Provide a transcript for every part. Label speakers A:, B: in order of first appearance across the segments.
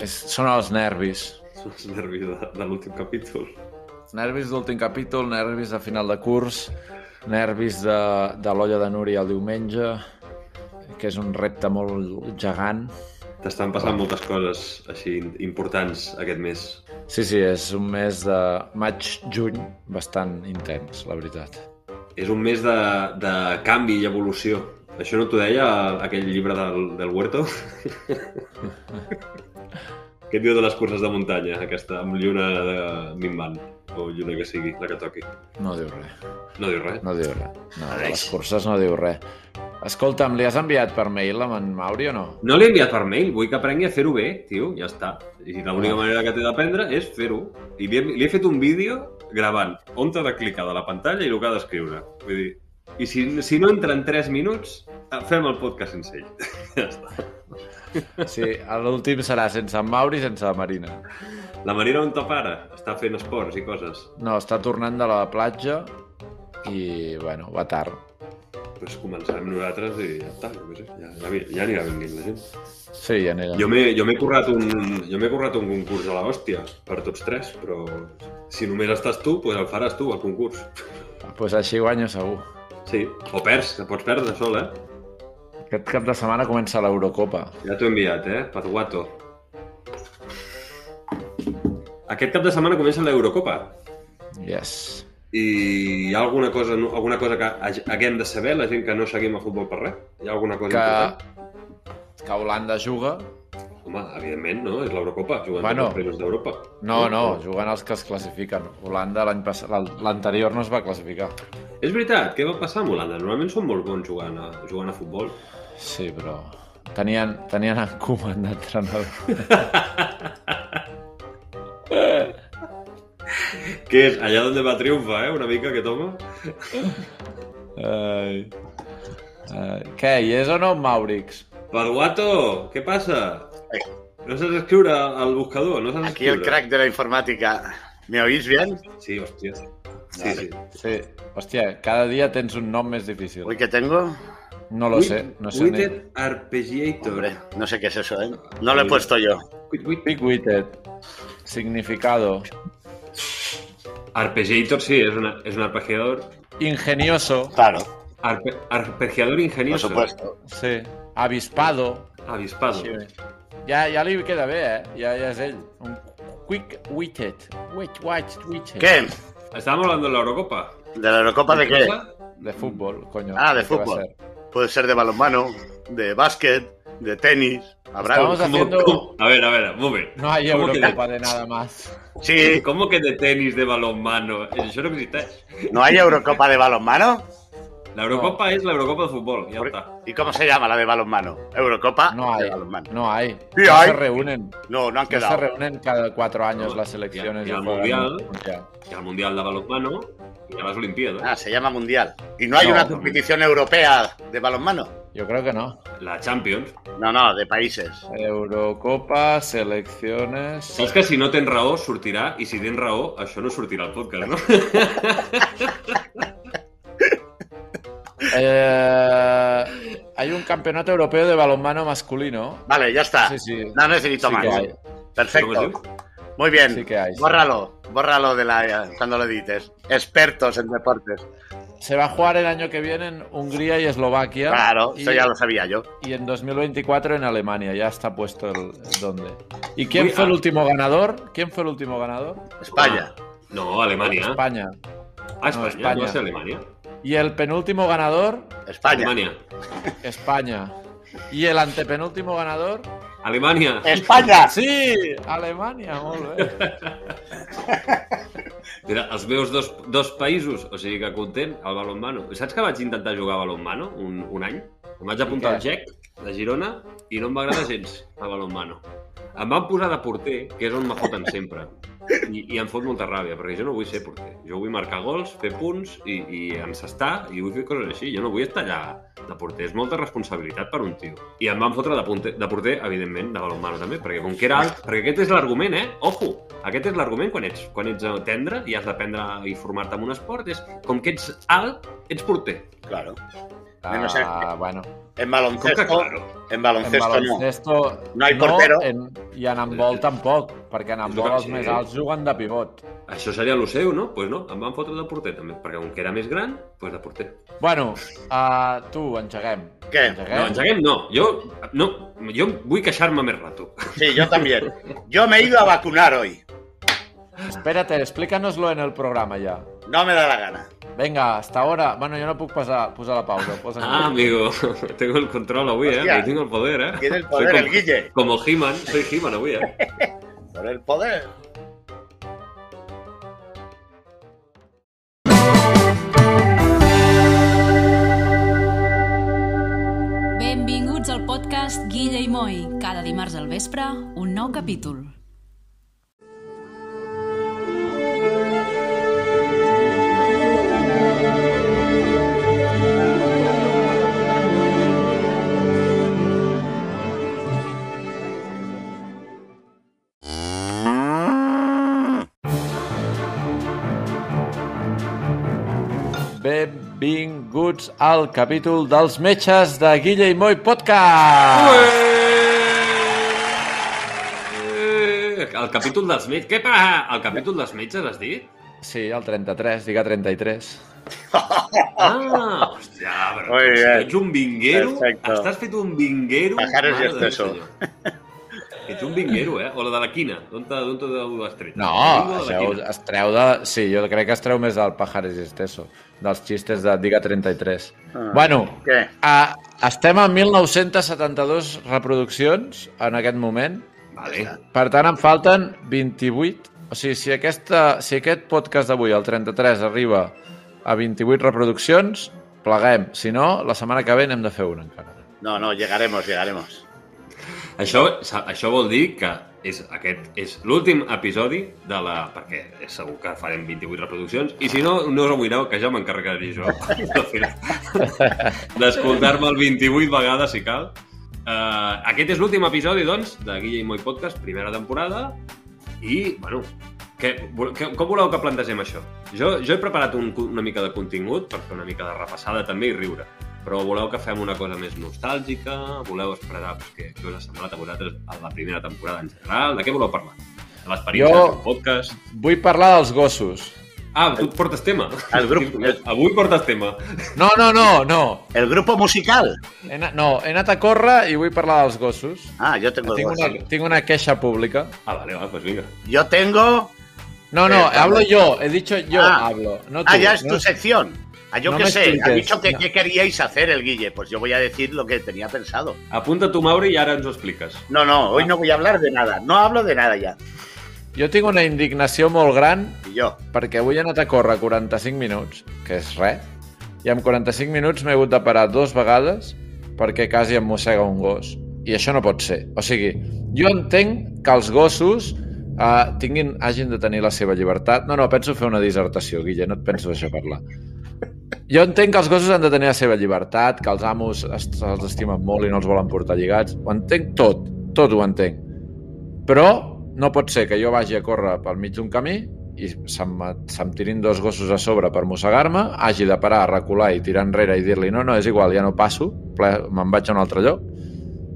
A: és, són els nervis.
B: Són els nervis de, de l'últim capítol.
A: Els nervis d'últim capítol, nervis de final de curs, nervis de, de l'olla de Núria el diumenge, que és un repte molt gegant.
B: T'estan passant moltes coses així importants aquest mes.
A: Sí, sí, és un mes de maig-juny bastant intens, la veritat.
B: És un mes de, de canvi i evolució. Això no t'ho deia aquell llibre del, del Huerto? Què et diu de les curses de muntanya, aquesta, amb lluna de minvant? O lluna que sigui, la que toqui.
A: No diu res,
B: No diu res.
A: no diu res. No, de les curses no diu res. Escolta'm, li has enviat per mail amb en Mauri o no?
B: No l'he enviat per mail, vull que aprengui a fer-ho bé, tio, ja està. I l'única
A: Ah.
B: manera que té d'aprendre és fer-ho. I li he, li he fet un vídeo gravant on t'ha de clicar de la pantalla i el que ha d'escriure. Vull dir, i si, si no entra en 3 minuts, eh, fem el podcast sense ell. ja està.
A: Sí, l'últim serà sense en Mauri i sense la Marina.
B: La Marina on top ara? Està fent esports i coses.
A: No, està tornant de la platja i, bueno, va tard.
B: Doncs començarem nosaltres i ja està, jo què sé. Ja, ja, vi- ja anirà venint la gent.
A: Sí, ja anirà.
B: Jo m'he jo m'he currat, un, jo m'he currat un concurs a la hòstia per tots tres, però si només estàs tu, doncs el faràs tu, el concurs.
A: Doncs pues així guanyo segur.
B: Sí, o perds, que pots perdre sol, eh?
A: Aquest cap de setmana comença l'Eurocopa.
B: Ja t'ho he enviat, eh? Per guato. Aquest cap de setmana comença l'Eurocopa
A: Yes.
B: i hi ha alguna cosa, no- alguna cosa que hag- haguem de saber, la gent que no seguim el futbol per res? Hi ha alguna cosa
A: Que,
B: important?
A: que Holanda juga.
B: Home, evidentment, no? És l'Eurocopa,
A: Bueno.
B: jugant bueno, els presos d'Europa.
A: No, no, juguen els que es classifiquen. Holanda l'any passat, l'anterior no es va classificar.
B: És veritat, què va passar amb Holanda? Normalment són molt bons jugant a, jugant a futbol.
A: Sí, però tenien, tenien en Koeman d'entrenador.
B: Què és? Allà on va triomfa, eh? Una mica aquest home.
A: Ai. Ai. Què, hi és o no Maurix?
B: Paduato, què passa? No saps escriure al buscador, no saps
C: Aquí
B: escriure.
C: el crack de la informática. ¿Me oís bien?
B: Sí, hòstia. Sí, sí.
A: Sí. Hòstia, cada dia tens un nom més difícil.
C: Uy, ¿qué tengo?
A: No lo sé, no sé ni...
B: Witted Arpeggiator.
C: Hombre, no sé qué es eso, ¿eh? No lo he puesto yo.
B: Wit- wit-
A: Big Witted. Significado.
B: Arpeggiator, sí, és, una, és un arpeggiador.
A: Ingenioso.
C: Claro,
B: Arpe, arpeggiador
C: por
B: ingenioso.
C: supuesto.
A: Sí. Avispado.
B: Avispado.
C: eh.
A: Sí. Ja, ja li queda bé, eh? Ja, ja és ell. Un quick-witted. Wait, wait, witted.
C: ¿Qué?
B: Estàvem hablando de l'Eurocopa.
C: ¿De la Eurocopa de qué?
A: De fútbol, coño.
C: Ah, de
A: ¿Qué va a
C: fútbol.
A: ser?
C: Puede ser de balonmano, de bàsquet, de tenis. Habrá
A: Estamos
C: un-
A: haciendo-
B: Com- A veure, a veure, un moment.
A: No hay
B: ¿Cómo que
A: Eurocopa de nada más.
C: Sí,
B: Com que de tenis de balonmano? Això no existeix.
C: ¿no hay Eurocopa de balonmano?
B: L'Eurocopa és l'Eurocopa de futbol, ja està.
C: ¿Y cómo se llama la de balonmano? Eurocopa
A: No
C: de
A: hay.
C: balonmano.
A: No hay.
C: Sí
A: no
C: hay.
A: se reúnen.
C: No, no
A: No
C: han
A: se
C: quedado.
A: reúnen cada cuatro años
B: No,
A: las selecciones.
B: y al
A: y juegan
B: Mundial.
A: un mundial.
B: Hi ha el Mundial de Balonmano i hi ha les Olimpíades.
C: Ah, se llama Mundial. ¿Y no hay
A: No,
C: una
B: no.
C: competición europea de balonmano?
A: Yo creo que no.
C: Ah.
B: La Champions.
C: No, no, de países.
A: Eurocopa, selecciones.
B: Saps que si no tens raó, sortirà, i si tens raó, això no sortirà al podcast, no?
A: Eh, hay un campeonato europeo de balonmano masculino.
C: Vale, ya está.
A: Sí, sí.
C: No necesito
A: Sí
C: Ah. más.
A: que hay.
B: Com es diu?
C: Perfecto. Muy bien.
A: Sí que hay, sí.
C: Bórralo. Bórralo de la, cuando lo edites. Expertos en deportes.
A: Se va a jugar el año que viene en Hungría y Eslovaquia.
C: Claro,
A: y,
C: eso ya lo sabía yo.
A: y en 2024 en Alemania. Ya está puesto el, el dónde. ¿Y quién
B: Uy,
A: fue el
B: ah.
A: último ganador? ¿Quién fue el último ganador?
C: España.
B: No,
C: ¿eh? Pues
B: Alemanya.
A: España.
B: Ah, Espanya.
A: Espanya.
B: No, Espanya. No és Alemanya.
A: Y el penúltimo ganador,
C: España.
B: Alemanya.
A: España. Y el antepenúltimo ganador,
B: Alemanya.
C: Eh. España.
A: sí, Alemania. molt bé.
B: Mira, els meus dos, dos països, o sigui que content, el balonmano. Saps que vaig intentar jugar a balonmano un, un any? Em vaig apuntar
A: I
B: al GEC de Girona i no em va agradar gens el balonmano. Em van posar de porter, que és on me foten sempre. I, I em fot molta ràbia, perquè jo no vull ser porter. Jo vull marcar gols, fer punts i, i encestar i vull fer coses així. Jo no vull estar allà de porter. És molta responsabilitat per un tio. I em van fotre de, punter, de porter, evidentment, de balonmano també, perquè com que era alt... Perquè aquest és l'argument, eh? Ojo! Aquest és l'argument quan ets, quan ets tendre i has d'aprendre i formar-te en un esport. És com que ets alt, ets porter.
C: Claro. Menos el-
A: Ah, bueno,
B: Com
C: En
B: que
C: baloncesto,
B: claro?
C: en
A: en
C: baloncesto no.
A: baloncesto
C: No hay portero.
A: en, i en handball tampoc, perquè en
B: És lo
A: handball
B: que
A: els
B: sí.
A: més alts juguen de pivot.
B: Això seria el seu, no? Doncs pues no, em van fotre de porter també, perquè com que era més gran, doncs pues de porter.
A: Bueno, uh, tu, engeguem.
C: Què?
B: No, engeguem no. Jo, no, jo vull queixar-me més rato.
C: Sí, yo también. Yo me he ido a vacunar hoy.
A: Espérate, explícanos-lo en el programa ja.
C: No me da la gana.
A: Vinga, hasta ahora. Bueno, jo no puc pasar, posar la pausa. Posa
B: Ah, amigo, tengo el control avui, eh?
C: Hòstia.
B: Tengo el poder, eh?
C: Tiene el
B: Soy
C: poder
B: com-
C: el Guille.
B: Como He-Man, soy He-Man avui, eh?
C: Por el poder.
D: Benvinguts al podcast Guilla i Moi. Cada dimarts al vespre, un nou capítol.
A: Benvinguts al capítol dels metges de Guilla i Moi Podcast!
B: Eh, El capítol dels metges... Què passa? El capítol dels metges, has dit?
A: Sí, el 33, diga 33.
B: Ah, hòstia, però
C: Muy
B: tu
C: bien.
B: ets un vinguero.
C: Perfecto.
B: Estàs fet un vinguero.
C: Pajares
B: mare
C: y
B: de Déu,
C: exceso.
B: senyor. Ets un vinguero, eh? O la de la quina. D'on te, d'on te ho has tret?
A: No,
B: Vingo de la
A: això
B: quina.
A: es treu de... Sí, jo crec que es treu més del Pajares i Esteso, dels xistes de diga 33.
C: Ah.
A: Bueno,
C: ¿Qué?
A: a, estem a 1972 reproduccions en aquest moment.
B: Vale.
A: Per tant, en falten 28. O sigui, si, aquesta, si aquest podcast d'avui, el 33, arriba a 28 reproduccions, pleguem. Si no, la setmana que ve n'hem de fer una encara.
C: No, no, llegaremos, llegaremos.
B: Això, sa- això vol dir que és, aquest és l'últim episodi de la... perquè és segur que farem 28 reproduccions i si no, no us amoïneu que ja m'encarregaré jo al final d'escoltar-me el 28 vegades si cal uh, aquest és l'últim episodi doncs de Guilla i Moi Podcast, primera temporada i, bueno que, que, com voleu que plantegem això? Jo, jo he preparat un, una mica de contingut per fer una mica de repassada també i riure però voleu que fem una cosa més nostàlgica? Voleu expressar pues, què, què us ha semblat a vosaltres a la primera temporada en general? De què voleu parlar? De l'experiència
A: Jo-
B: jo... del podcast?
A: Vull parlar dels gossos.
B: Ah, tu portes tema?
C: El grup-
B: Avui portes tema.
A: No, no, no, no.
C: El grupo musical.
A: He, na- no, he anat a córrer i vull parlar dels gossos.
C: Ah, yo tengo
A: Tinc
C: dos.
A: una, tinc una queixa pública.
B: Ah, vale, va, pues vinga.
C: Yo tengo.
A: No, no,
C: Eh,
A: hablo yo. He dicho yo
C: Ah.
A: hablo, no tú.
C: Ah, ya es
A: no
C: tu sección. Ah, yo
A: no
C: qué
A: me
C: sé. Ha
A: expliques.
C: dicho que
A: No.
C: qué queríais hacer el Guille. Pues yo voy a decir lo que tenía pensado.
B: Apunta tu, Mauri, i ara ens ho expliques.
C: No, no,
A: Ah.
C: hoy no voy a hablar de nada. No hablo de nada ya.
A: Jo tinc una indignació molt gran
C: Y yo.
A: perquè avui he anat a córrer 45 minuts, que és res, i amb 45 minuts m'he hagut de parar dues vegades perquè quasi em mossega un gos. I això no pot ser. O sigui, jo entenc que els gossos eh, tinguin, hagin de tenir la seva llibertat. No, no, penso fer una dissertació, Guille, no et penso deixar parlar. Jo entenc que els gossos han de tenir la seva llibertat, que els amos es, els estimen molt i no els volen portar lligats. Ho entenc tot, tot ho entenc. Però no pot ser que jo vagi a córrer pel mig d'un camí i se'm, se'm tirin dos gossos a sobre per mossegar-me, hagi de parar, recular i tirar enrere i dir-li no, no, és igual, ja no passo, ple- me'n vaig a un altre lloc.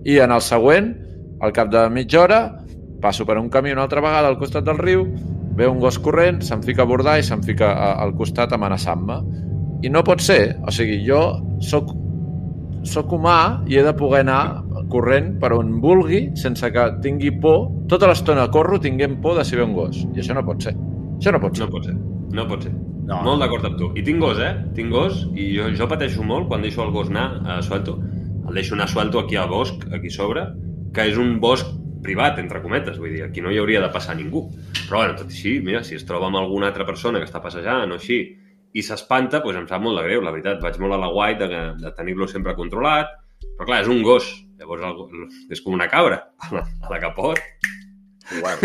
A: I en el següent, al cap de mitja hora, passo per un camí una altra vegada al costat del riu, ve un gos corrent, se'm fica a bordar i se'm fica a- al costat amenaçant-me. I no pot ser, o sigui, jo sóc sóc humà i he de poder anar corrent per on vulgui sense que tingui por. Tota l'estona corro tinguem por de si ve un gos. I això no pot ser. Això no pot ser.
B: No pot ser. No pot ser.
C: No.
B: Molt d'acord amb tu. I tinc gos, eh? Tinc gos i jo, jo pateixo molt quan deixo el gos anar a Suelto. El deixo anar a Suelto aquí al bosc, aquí sobre, que és un bosc privat, entre cometes, vull dir, aquí no hi hauria de passar ningú. Però, bueno, tot i així, mira, si es troba amb alguna altra persona que està passejant o així i s'espanta, doncs em sap molt de greu, la veritat. Vaig molt a la guai de, de tenir-lo sempre controlat, però clar, és un gos. Llavors el, go- és com una cabra, a la, a la que pot,
C: Igual.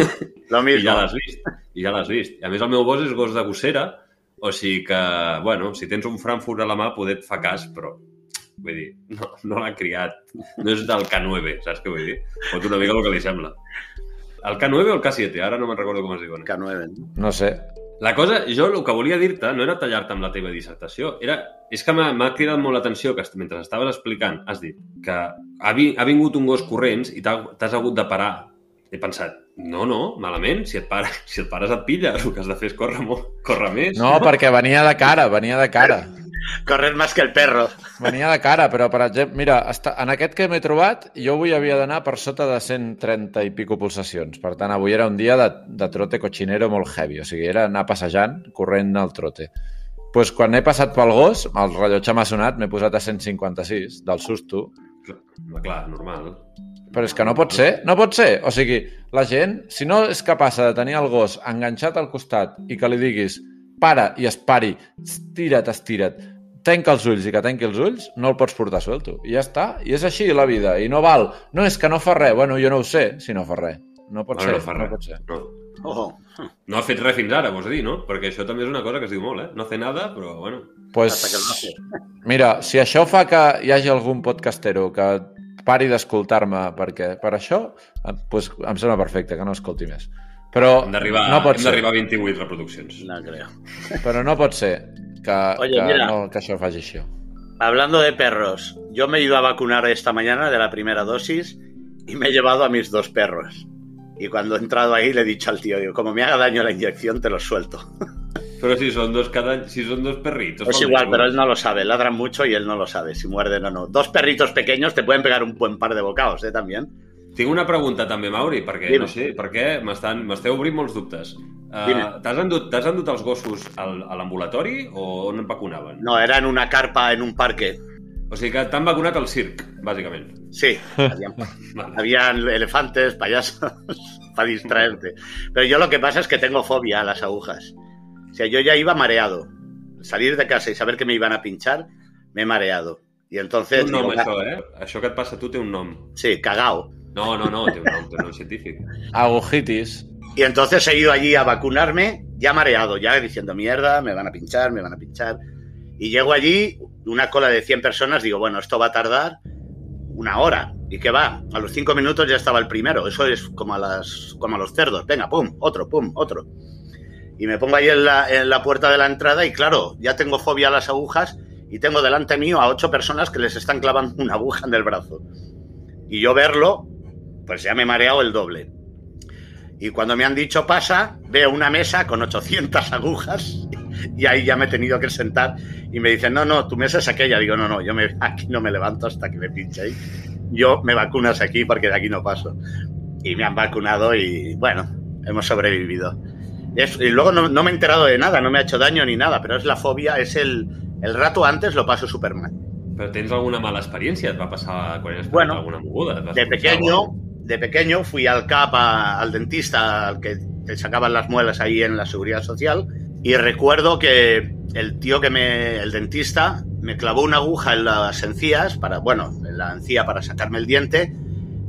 C: Lo
B: i ja
C: mismo.
B: l'has vist, i ja l'has vist. I a més, el meu gos és gos de gossera, o sigui que, bueno, si tens un Frankfurt a la mà, poder et fa cas, però vull dir, no, no l'ha criat. No és del K9, saps què vull dir? Pot una mica el que li sembla. El K9 o el K7? Ara no me'n recordo com es diuen.
C: K9. ¿no?
A: No sé.
B: La cosa, jo el que volia dir-te no era tallar-te amb la teva dissertació, era, és que m'ha m'ha cridat molt l'atenció que est- mentre estaves explicant has dit que ha, vi, ha vingut un gos corrents i t'ha- t'has hagut de parar. He pensat, no, no, malament, si et, pares, si et pares et pilles, el que has de fer és córrer, molt, córrer més.
A: No, perquè venia de cara, venia de cara.
C: Correr más que el perro.
A: Venia de cara, però, per exemple, mira, està, en aquest que m'he trobat, jo avui havia d'anar per sota de 130 i pico pulsacions. Per tant, avui era un dia de, de trote cochinero molt heavy. O sigui, era anar passejant, corrent al trote. pues, quan he passat pel gos, el rellotge m'ha sonat, m'he posat a 156, del susto.
B: Clar, clar, normal.
A: Però és que no pot ser, no pot ser. O sigui, la gent, si no és capaç de tenir el gos enganxat al costat i que li diguis para i es pari, estira't, estira't, tanca els ulls i que tanqui els ulls, no el pots portar suelto. I ja està. I és així la vida. I no val. No, és que no fa res. Bueno, jo no ho sé si no fa res. No pot
B: Bueno,
A: ser.
B: no fa res.
A: No pot ser.
B: No.
C: Ojo.
B: no ha fet res fins ara, vols dir, no? Perquè això també és una cosa que es diu molt, eh? No fer nada, però bueno.
C: Hasta que el
A: Pues,
C: baje.
A: mira, si això fa que hi hagi algun podcastero que pari d'escoltar-me perquè per això, eh, pues, em sembla perfecte que no escolti més. Però
B: Hem d'arribar
A: no pot
B: hem
A: ser.
B: d'arribar a 28 reproduccions.
C: No creo.
A: Però no pot ser que,
C: Oye,
A: que,
C: mira.
A: no, que això faci així.
C: Hablando de perros, yo me he ido a vacunar esta mañana de la primera dosis y me he llevado a mis dos perros. Y cuando he entrado ahí le he dicho al tío, digo, como me haga daño la inyección te los suelto.
B: Però si són dos, cada, si són dos perritos...
C: Es
B: fa el
C: Pues igual,
B: mateix.
C: pero él no lo sabe, ladran mucho y él no lo sabe, si muerden o no. Dos perritos pequeños te pueden pegar un buen par de bocados, ¿eh? También.
B: Tinc una pregunta també, Mauri, perquè
C: Dime.
B: no sé, perquè m'estan- m'esteu obrint molts dubtes.
C: Dime.
B: Uh, T'has endut, t'has endut els gossos al, a l'ambulatori o on et vacunaven?
C: No, era en una carpa en un parque.
B: O sigui que t'han vacunat al circ, bàsicament.
C: Sí, habían,
B: Vale.
C: habían elefantes, payasos, para distraerte. Pero yo lo que pasa es que tengo fobia a las agujas. O sea, yo ya iba mareado. Salir de casa y saber que me iban a pinchar, me he mareado. Y entonces...
B: Un nom,
C: digo,
B: això, eh? Això que et passa a tu té un nom.
C: Sí, cagao.
B: No, no, no, té un nom, té un nom científic.
A: Agujitis.
C: Y entonces he ido allí a vacunarme, ya mareado, ya diciendo mierda, me van a pinchar, me van a pinchar. Y llego allí, una cola de 100 personas, digo, bueno, esto va a tardar una hora. ¿Y qué va? A los cinco minutos ya estaba el primero. Eso es como a, las, como a los cerdos. Venga, pum, otro, pum, otro. Y me pongo ahí en la, en la puerta de la entrada y claro, ya tengo fobia a las agujas y tengo delante mío a ocho personas que les están clavando una aguja en el brazo. Y yo verlo, pues ya me he mareado el doble. Y cuando me han dicho pasa, veo una mesa con 800 agujas y ahí ya me he tenido que sentar y me dicen, no, no, tu mesa es aquella. Digo, no, no, yo me, aquí no me levanto hasta que me pinchéis. Yo me vacunas aquí porque de aquí no paso. Y me han vacunado y bueno, hemos sobrevivido. Es- y luego no, no me he enterado de nada, no me ha hecho daño ni nada, pero es la fobia, es el, el rato antes lo paso súper mal.
B: Però tens alguna mala experiència? Et va passar quan eres
C: Bueno,
B: bueno, alguna moguda? Et vas
C: De
B: punxar o
C: pequeño,
B: alguna
C: de pequeño fui al CAP, a- al dentista, al que te sacaban las muelas ahí en la seguridad social, y recuerdo que el tío que me, el dentista, me clavó una aguja en las encías, para, bueno, en la encía para sacarme el diente,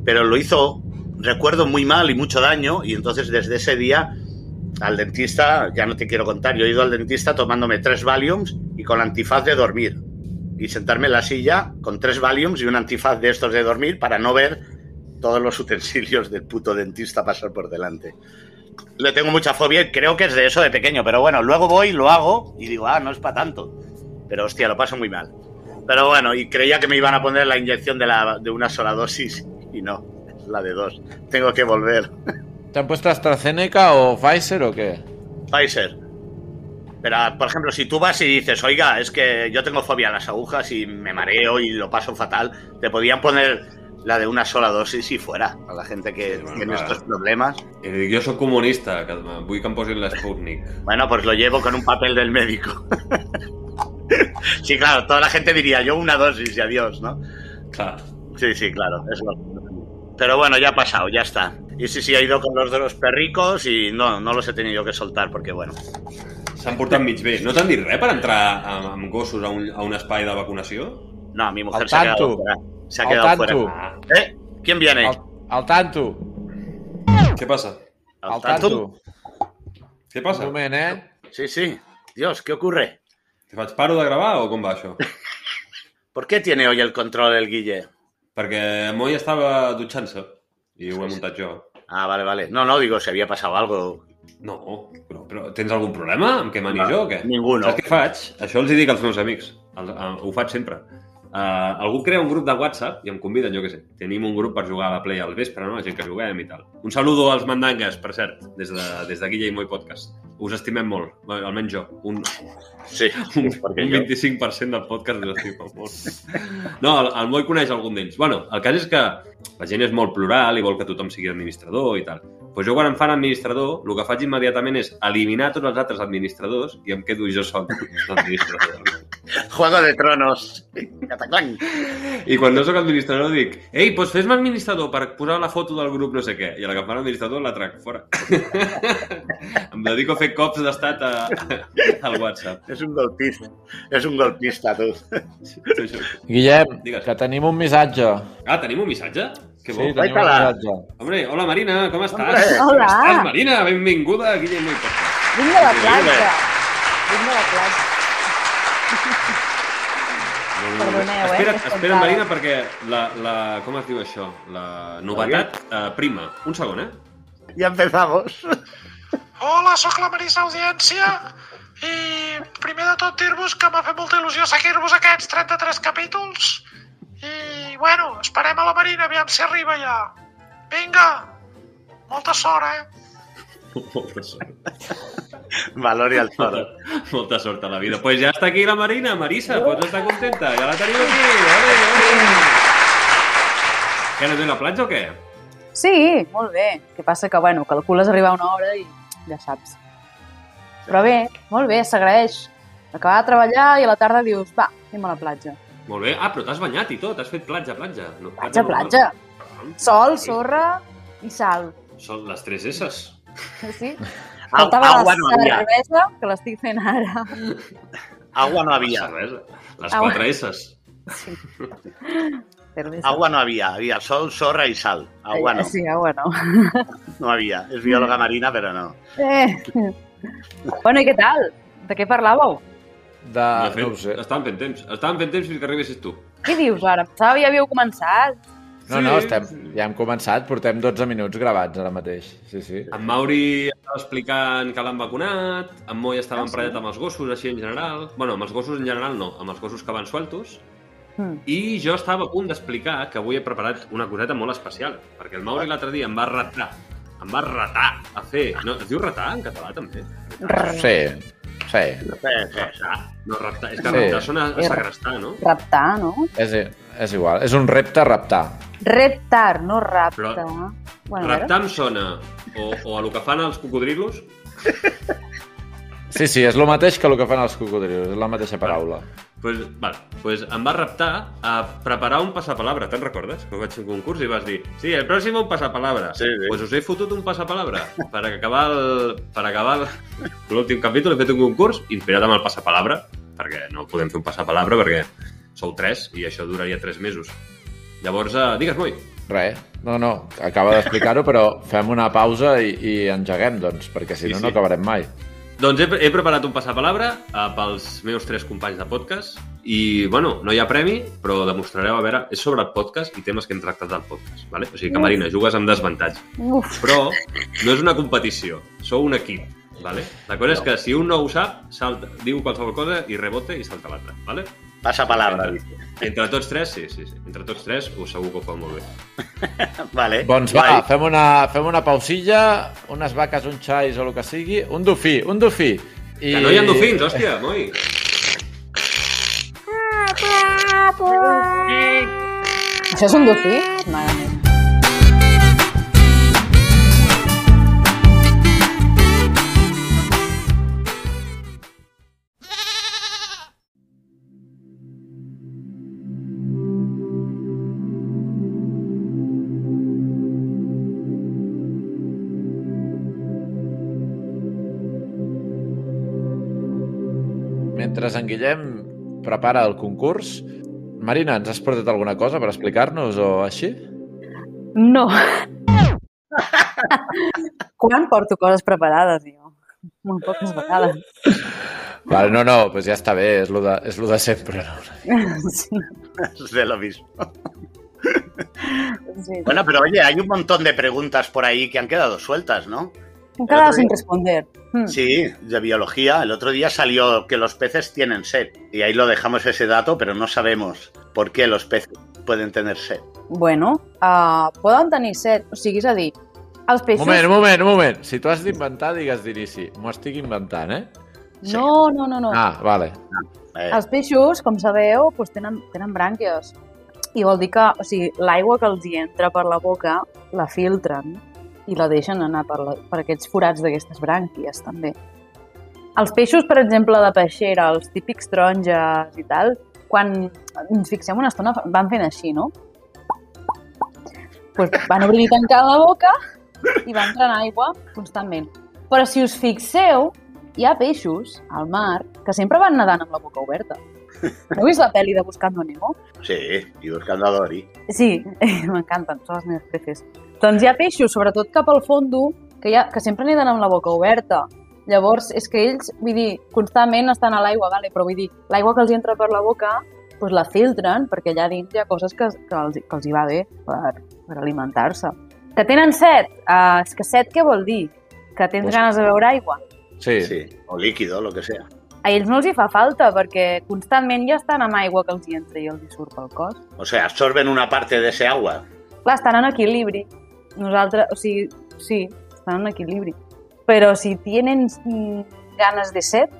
C: pero lo hizo, recuerdo, muy mal y mucho daño, y entonces desde ese día al dentista, ya no te quiero contar, yo he ido al dentista tomándome tres Valiums y con antifaz de dormir. Y sentarme en la silla con tres Valiums y un antifaz de estos de dormir para no ver todos los utensilios del puto dentista pasar por delante. Le tengo mucha fobia y creo que es de eso de pequeño, pero bueno, luego voy, lo hago y digo, ah, no es para tanto. Pero hostia, lo paso muy mal. Pero bueno, y creía que me iban a poner la inyección de, la, de una sola dosis y no, es la de dos. Tengo que volver.
A: T'han puesto AstraZeneca o Pfizer o què?
C: Pfizer. Pero, por ejemplo, si tú vas y dices, oiga, es que yo tengo fobia a las agujas y me mareo y lo paso fatal, te podían poner la de una sola dosis y fuera. A la gente que
B: Sí, bueno,
C: tiene
B: claro.
C: estos problemas.
B: cosa? Eh, dic, jo sóc comunista, que em- vull que em posin la Sputnik.
C: Bueno, pues lo llevo con un papel del médico. sí, claro, toda la gente diría yo una dosis y adiós, ¿no?
B: Clar.
C: Sí, sí, claro, es lo- Pero bueno, ya ha pasado, ya está. Y sí, sí, he ido con los de los perricos y no, no los he tenido que soltar porque, bueno,
B: S'han portat mig bé. No t'han dit res per entrar amb, amb gossos a un, a un espai de vacunació?
C: no, mi mujer
A: Al
C: se ha quedado
A: tanto.
C: fuera. Se ha
A: Al
C: quedado
A: tanto.
C: fuera.
B: Ah,
C: ¿Eh? ¿Quién viene?
A: Al, al tanto.
B: què passa?
C: ¿Al
A: Al tanto.
B: Què
A: Un
B: passa?
A: moment, eh?
C: Sí, sí. Dios, ¿qué ocurre?
B: Te faig paro de gravar o com va això?
C: ¿Por qué tiene hoy el control el Guille?
B: Perquè Moi estava dutxant-se i ho he muntat jo.
C: Ah, vale, vale. No, no, digo, si había pasado algo.
B: No, però, però tens algun problema amb què mani
C: No,
B: jo o què?
C: ningú no.
B: Saps què faig? Això els hi dic als meus amics. El, el, ho faig sempre. Uh, algú crea un grup de WhatsApp i em conviden, jo què sé. Tenim un grup per jugar a la Play al vespre, no? La gent que juguem i tal. Un saludo als mandangues, per cert, des de, des de Guilla i Moi Podcast. Us estimem molt, bé, almenys jo. Un,
C: Sí,
B: un,
C: perquè
B: un
C: jo...
B: 25% del podcast de l'estiu pel món. No, el, el Moi coneix algun d'ells. Bueno, el cas és que la gent és molt plural i vol que tothom sigui administrador i tal. Pues jo quan em fan administrador, el que faig immediatament és eliminar tots els altres administradors i em quedo jo sol d'administrador.
C: Juego de Tronos. Cataclán.
B: I quan no sóc administrador dic, ei, doncs fes-me administrador per posar la foto del grup no sé què. I a la que em fan administrador la trac fora. em dedico a fer cops d'estat a, al WhatsApp.
C: És un golpista. És un golpista, tu.
B: Això, això.
A: Guillem,
B: Digues.
A: que tenim un missatge.
B: Ah, tenim un missatge? Que
A: Sí,
B: bo.
A: tenim un
C: Guaita-la.
A: missatge.
B: Hombre, hola Marina, com estàs?
C: Hombre.
B: Com
E: Hola.
B: Estàs, Marina? Benvinguda a Guillem i Podcast.
E: Vinc de la
B: Sí,
E: platja.
C: bé.
E: Vinc de la platja. Perdoneu, eh,
B: Espera't,
E: que estem
B: espera't,
E: tard.
B: Marina, perquè la, la... Com es diu això? La novetat eh, prima. Un segon, eh?
C: Ja empezamos.
F: Hola, sóc la Marisa Audiència i primer de tot dir-vos que m'ha fet molta il·lusió seguir-vos aquests 33 capítols i, bueno, esperem a la Marina, aviam si arriba ja. Vinga, molta sort, eh?
B: Molta sort.
C: Valor i el toro.
B: Molta sort a la vida. Doncs pues ja està aquí la Marina, Marisa, pots estar contenta. Ja la teniu aquí. Ole, ole. Què, anem a la platja o què?
E: Sí, molt bé. El que passa que, bueno, calcules arribar a una hora i ja saps. Però bé, molt bé, s'agraeix. Acabar de treballar i a la tarda dius, va, anem a la platja.
B: Molt bé. Ah, però t'has banyat i tot. Has fet platja, platja. No,
E: Platja,
B: normal.
E: platja. Sol,
B: Sí.
E: sorra i sal.
B: Són les tres S's.
E: Sí?
C: Au,
E: Faltava
C: agua no
E: la
C: havia.
E: cervesa, que l'estic fent ara.
C: Agua no
B: La
C: havia.
B: cervesa. Les
E: Au.
B: quatre S's.
E: Cervesa.
C: Agua no havia. Havia sol, sorra i sal. Agua no.
E: Sí, ah, agua no.
C: No havia. És biòloga marina, però no.
E: Eh. Bueno, i què tal? De què parlàveu?
A: De...
B: De
A: Ah,
B: fet,
A: No ho sé.
B: Estàvem fent temps. Estàvem fent temps fins que arribessis tu.
E: Què dius ara? Em pensava que ja havíeu començat.
A: No, no,
B: Sí.
A: estem... Ja hem començat, portem 12 minuts gravats ara mateix. Sí, sí.
B: En Mauri estava explicant que l'han vacunat, en Moi estava
E: Ah, sí?
B: emparellat amb els gossos, així en general. bueno, amb els gossos en general no, amb els gossos que van sueltos.
E: Mm.
B: I jo estava a punt d'explicar que avui he preparat una coseta molt especial, perquè el Mauri l'altre dia em va retar, em va retar a fer... No, es diu retar en català, també?
A: Sí, sí.
C: Sí, sí.
B: Retar? No, reptar. És que
A: Sí.
B: reptar sona a
E: Sí.
B: segrestar, no?
E: Raptar, no?
A: És, és igual. És un repte reptar.
E: Reptar, no raptar.
B: Però-
E: Bueno, a veure.
B: Reptar em sona o, o a lo que fan els cocodrilos,
A: Sí, sí, és el mateix que el que fan els cocodrils. És la mateixa paraula.
B: Pues, vale, pues em va reptar a preparar un passapalabra, te'n recordes? Que vaig fer un concurs i vas dir, sí, el pròxim un passapalabra.
C: Sí, sí.
B: Pues us he fotut un passapalabra per acabar el... Per acabar el- l'últim capítol he fet un concurs inspirat amb el passapalabra, perquè no podem fer un passapalabra perquè sou tres i això duraria tres mesos. Llavors, eh, digues, Moi,
A: Res. No, no, acaba d'explicar-ho, però fem una pausa i, i engeguem, doncs, perquè si
B: Sí,
A: no,
B: sí.
A: no acabarem mai.
B: Doncs he, he preparat un passapalabra eh, pels meus tres companys de podcast i, bueno, no hi ha premi, però demostrareu, a veure, és sobre el podcast i temes que hem tractat del podcast, vale? O sigui que, Marina, jugues amb desavantatge.
E: Uf,
B: Però no és una competició, sou un equip, vale? La cosa és que si un no ho sap, salta, diu qualsevol cosa i rebote i salta l'altre, vale?
C: Passa palabra.
B: Entre, entre tots tres, sí, sí, sí. Entre tots tres, us segur que ho fa molt bé.
C: Vale.
A: Doncs va,
C: Guai.
A: fem una, fem una pausilla, unes vaques, un xais o el que sigui. Un dofí, un dofí. I...
B: I... Que no hi ha dofins, hòstia, Moi!
E: això és un dofí? Mare meva.
B: eh?
A: Mentre en Guillem prepara el concurs, Marina, ens has portat alguna cosa per explicar-nos o així?
E: No. Quan porto coses preparades, jo? Molt poques vegades.
A: Vale, no, no, doncs ja està bé, és lo de, és lo de sempre.
E: Sí,
C: Es de lo mismo.
E: sí.
C: Bueno, pero oye, hay un montón de preguntas por ahí que han quedado sueltas, ¿no?
E: Han quedado
C: otro
E: sin
C: día-
E: responder. Hmm.
C: Sí, de biología. El otro día salió que los peces tienen sed. Y ahí lo dejamos ese dato, pero no sabemos por qué los peces pueden tener sed.
E: Bueno, ah, poden tenir set, o sigui, és a dir, els
A: Un
E: peixos...
A: moment, un moment, un moment. Si t'ho has d'inventar, digues d'inici. M'ho estic inventant, eh?
C: sí.
E: No, no, no, no.
A: Ah, vale.
C: Eh,
E: Els peixos, com sabeu, doncs tenen, tenen brànquies. I vol dir que o sigui, l'aigua que els hi entra per la boca la filtren i la deixen anar per, la, per aquests forats d'aquestes brànquies, també. Els peixos, per exemple, de peixera, els típics taronges i tal, quan ens fixem una estona van fent així, no? Pues van obrir i tancar la boca i van entrant aigua constantment. Però si us fixeu, hi ha peixos al mar que sempre van nedant amb la boca oberta. No heu vist la pel·li de Buscando a Nemo?
C: Sí, y buscando a Dory.
E: Sí, m'encanten, són les meves preces. Doncs hi ha peixos, sobretot cap al fondo, que, hi ha, que sempre neden amb la boca oberta. Llavors, és que ells, vull dir, constantment estan a l'aigua, vale? però vull dir, l'aigua que els entra per la boca, doncs la filtren, perquè allà dins hi ha coses que, que, els, que els hi va bé per, per alimentar-se. Que tenen set? Uh, és que set què vol dir? Que tens
A: Pues-
E: ganes de beure aigua?
A: Sí. sí.
C: Sí, o líquido, lo que sea.
E: A ells no els hi fa falta, perquè constantment ja estan amb aigua que els hi entra i els hi surt pel cos.
C: O sea, absorben una parte de ese agua.
E: Clar, estan en equilibri. Nosaltres, o sigui, sí, estan en equilibri. Però si tenen mm, ganes de set,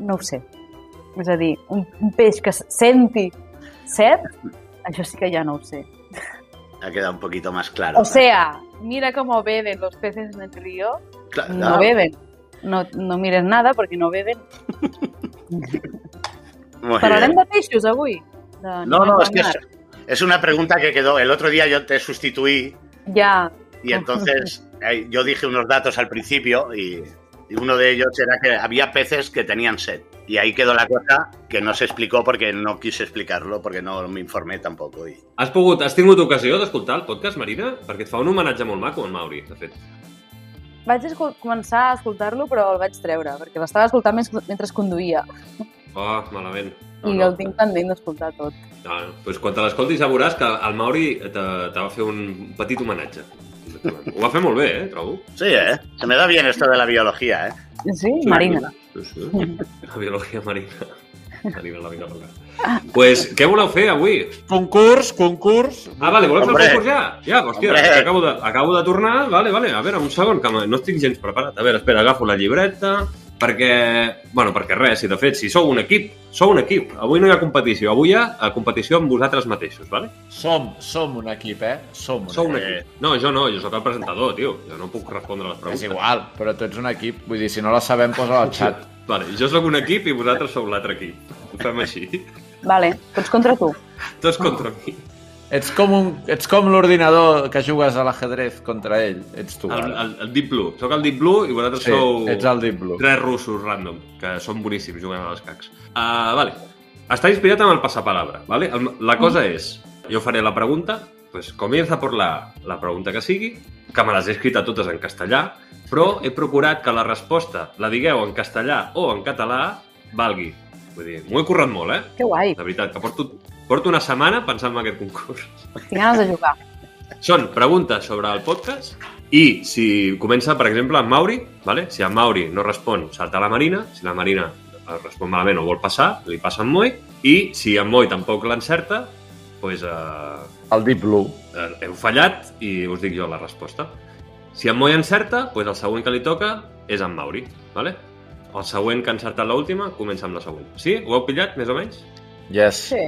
E: no ho sé. És a dir, un, un peix que s- senti set, això sí que ja no ho sé.
C: Ha quedado un poquito más claro.
E: O sea, mira cómo beben los peces en el río.
C: Claro,
E: No beben. No, no mires nada perquè no beben.
C: Muy
E: Parlarem
C: bien.
E: de peixos avui? De
C: No, no,
E: animals
C: es que
E: del
C: es, es una pregunta que quedó. El otro día yo te sustituí
E: mar. Ja,
C: y entonces eh, yo dije unos datos al principio y, y uno de ellos era que había peces que tenían sed. Y ahí quedó la cosa que no se explicó porque no quise explicarlo, porque no me informé tampoco. Y,
B: Has pogut, has tingut ocasió d'escoltar el podcast, Marina? Perquè et fa un homenatge molt maco, en Mauri, de fet.
E: Vaig escol- començar a escoltar-lo, però el vaig treure, perquè l'estava escoltant més- mentre es conduïa
B: Oh, malament.
E: i el tinc pendent d'escoltar tot.
B: No, no. Pues quan te l'escoltis ja veuràs que el Mauri te, te va fer un petit homenatge. Ho va fer molt bé, eh, trobo.
C: sí, ¿eh? Se me da bien esto de la biología, ¿eh?
E: Sí, Marina.
B: Sí, sí. La biologia marina. Marina la vinga per acá.
E: Ah.
B: Pues, què voleu fer avui?
A: Concurs, concurs.
B: Ah, vale, voleu fer el
C: Hombre.
B: concurs ja? Ja, hòstia,
C: Hombre.
B: que acabo de, acabo de tornar. Vale, vale, a veure, un segon, que no estic gens preparat. A veure, espera, agafo la llibreta, perquè... Bueno, perquè res, si de fet, si sou un equip, sou un equip. Avui no hi ha competició, avui hi ha eh, competició amb vosaltres mateixos, vale?
A: Som, som un equip, eh? Som un
B: Sou un
A: equip.
B: equip. No, jo no, jo sóc el presentador, tio. Jo no puc respondre a les
A: És
B: preguntes.
A: igual, però tu ets un equip. Vull dir, si no la sabem, posa-la al xat.
B: Vale, jo sóc un equip i vosaltres sou l'altre equip. Ho fem així.
E: Vale, tots contra tu.
B: Tots contra mi.
A: Ets com, un, ets com l'ordinador que jugues a l'ajedrez contra ell. Ets tu.
B: El,
A: ara.
B: el, el Deep Blue. Sóc el Deep Blue i vosaltres
A: Sí,
B: sou
A: ets el Deep Blue.
B: tres russos random, que són boníssims jugant a les cacs. Uh, vale. Està inspirat en el passapalabra, vale? El, la cosa és, jo faré la pregunta, pues comienza por la, la pregunta que sigui, que me les he escrit a totes en castellà, però he procurat que la resposta la digueu en castellà o en català valgui. Vull dir, m'ho he currat molt, eh?
E: Que guai,
B: De veritat, que porto, porto una setmana pensant en aquest concurs.
E: tinc ganes de jugar.
B: Són preguntes sobre el podcast i si comença, per exemple, amb Mauri, vale? si en Mauri no respon, salta la Marina, si la Marina eh, respon malament o vol passar, li passa en Moi, i si en Moi tampoc l'encerta, doncs eh,
A: El Deep Blue.
B: eh, heu fallat i us dic jo la resposta. Si en Moi encerta, doncs el següent que li toca és en Mauri, vale? El següent que ha encertat l'última comença amb la següent. Sí? Ho heu pillat, més o menys?
A: Yes.
E: Sí.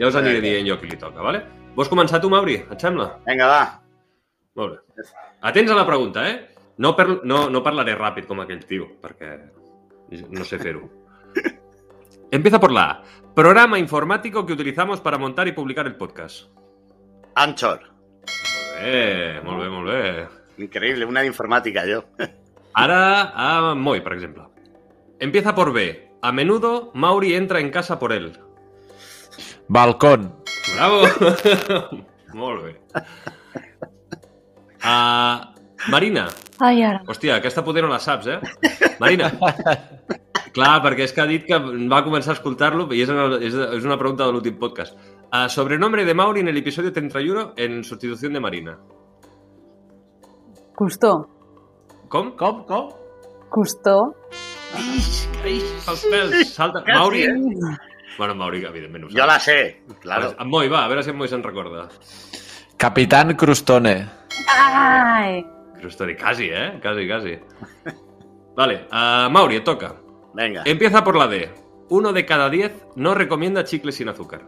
B: Ja us aniré dient jo qui li toca, vale? Vols començar tu, Mauri? Et sembla?
C: Venga, va.
B: Molt bé. Atents a la pregunta, eh? No, per, no, no parlaré ràpid com aquell tio, perquè no sé fer-ho. Empieza por la A. Programa informático que utilizamos para montar y publicar el podcast.
C: Anchor.
B: Molt bé, molt bé, molt bé.
C: Increíble, una de informática yo.
B: Ara a Moi, per exemple. Empieza por B. A menudo Mauri entra en casa por él.
A: Balcón.
B: Bravo! molt bé. A Marina,
E: Ai, ara.
B: Hòstia, aquesta poder no la saps, eh? Marina. Clar, perquè és que ha dit que va començar a escoltar-lo i és, una, és, és una pregunta de l'últim podcast. Uh, sobrenombre de Mauri en el episodio 31 en sustitución de Marina.
E: Costó.
B: Com?
A: Com? Com?
E: Costó.
B: Els pèls. Salta. Mauri, eh? Bueno, Mauri, evidentment. ho
C: Yo
B: sap.
C: la sé, claro.
B: En Moi, va, a veure si en Moi se'n recorda.
A: Capitán Crustone.
E: Ai!
B: Crustori, quasi, eh? Quasi, quasi. Vale, a Mauri, et toca.
C: Venga,
B: Empieza por la D. Uno de cada diez no recomienda chicles sin azúcar.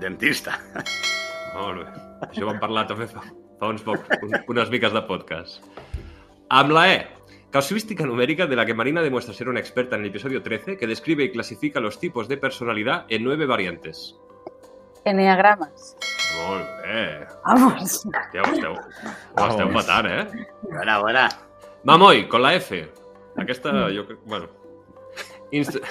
C: dentista.
B: Molt bé. Això ho vam parlar també fa, fa uns pocs, un, unes miques de podcast. Amb la E. Casuística numérica de la que Marina demuestra ser una experta en el episodio 13 que describe y clasifica los tipos de personalidad en nueve variantes.
E: Enneagrames.
B: Molt bé.
E: Vamos.
B: Hòstia, ho esteu, ho esteu
A: Vamos.
B: patant, eh?
C: Buena, buena.
B: Mamoy, con la F. Aquesta, jo crec... Bueno. Instru-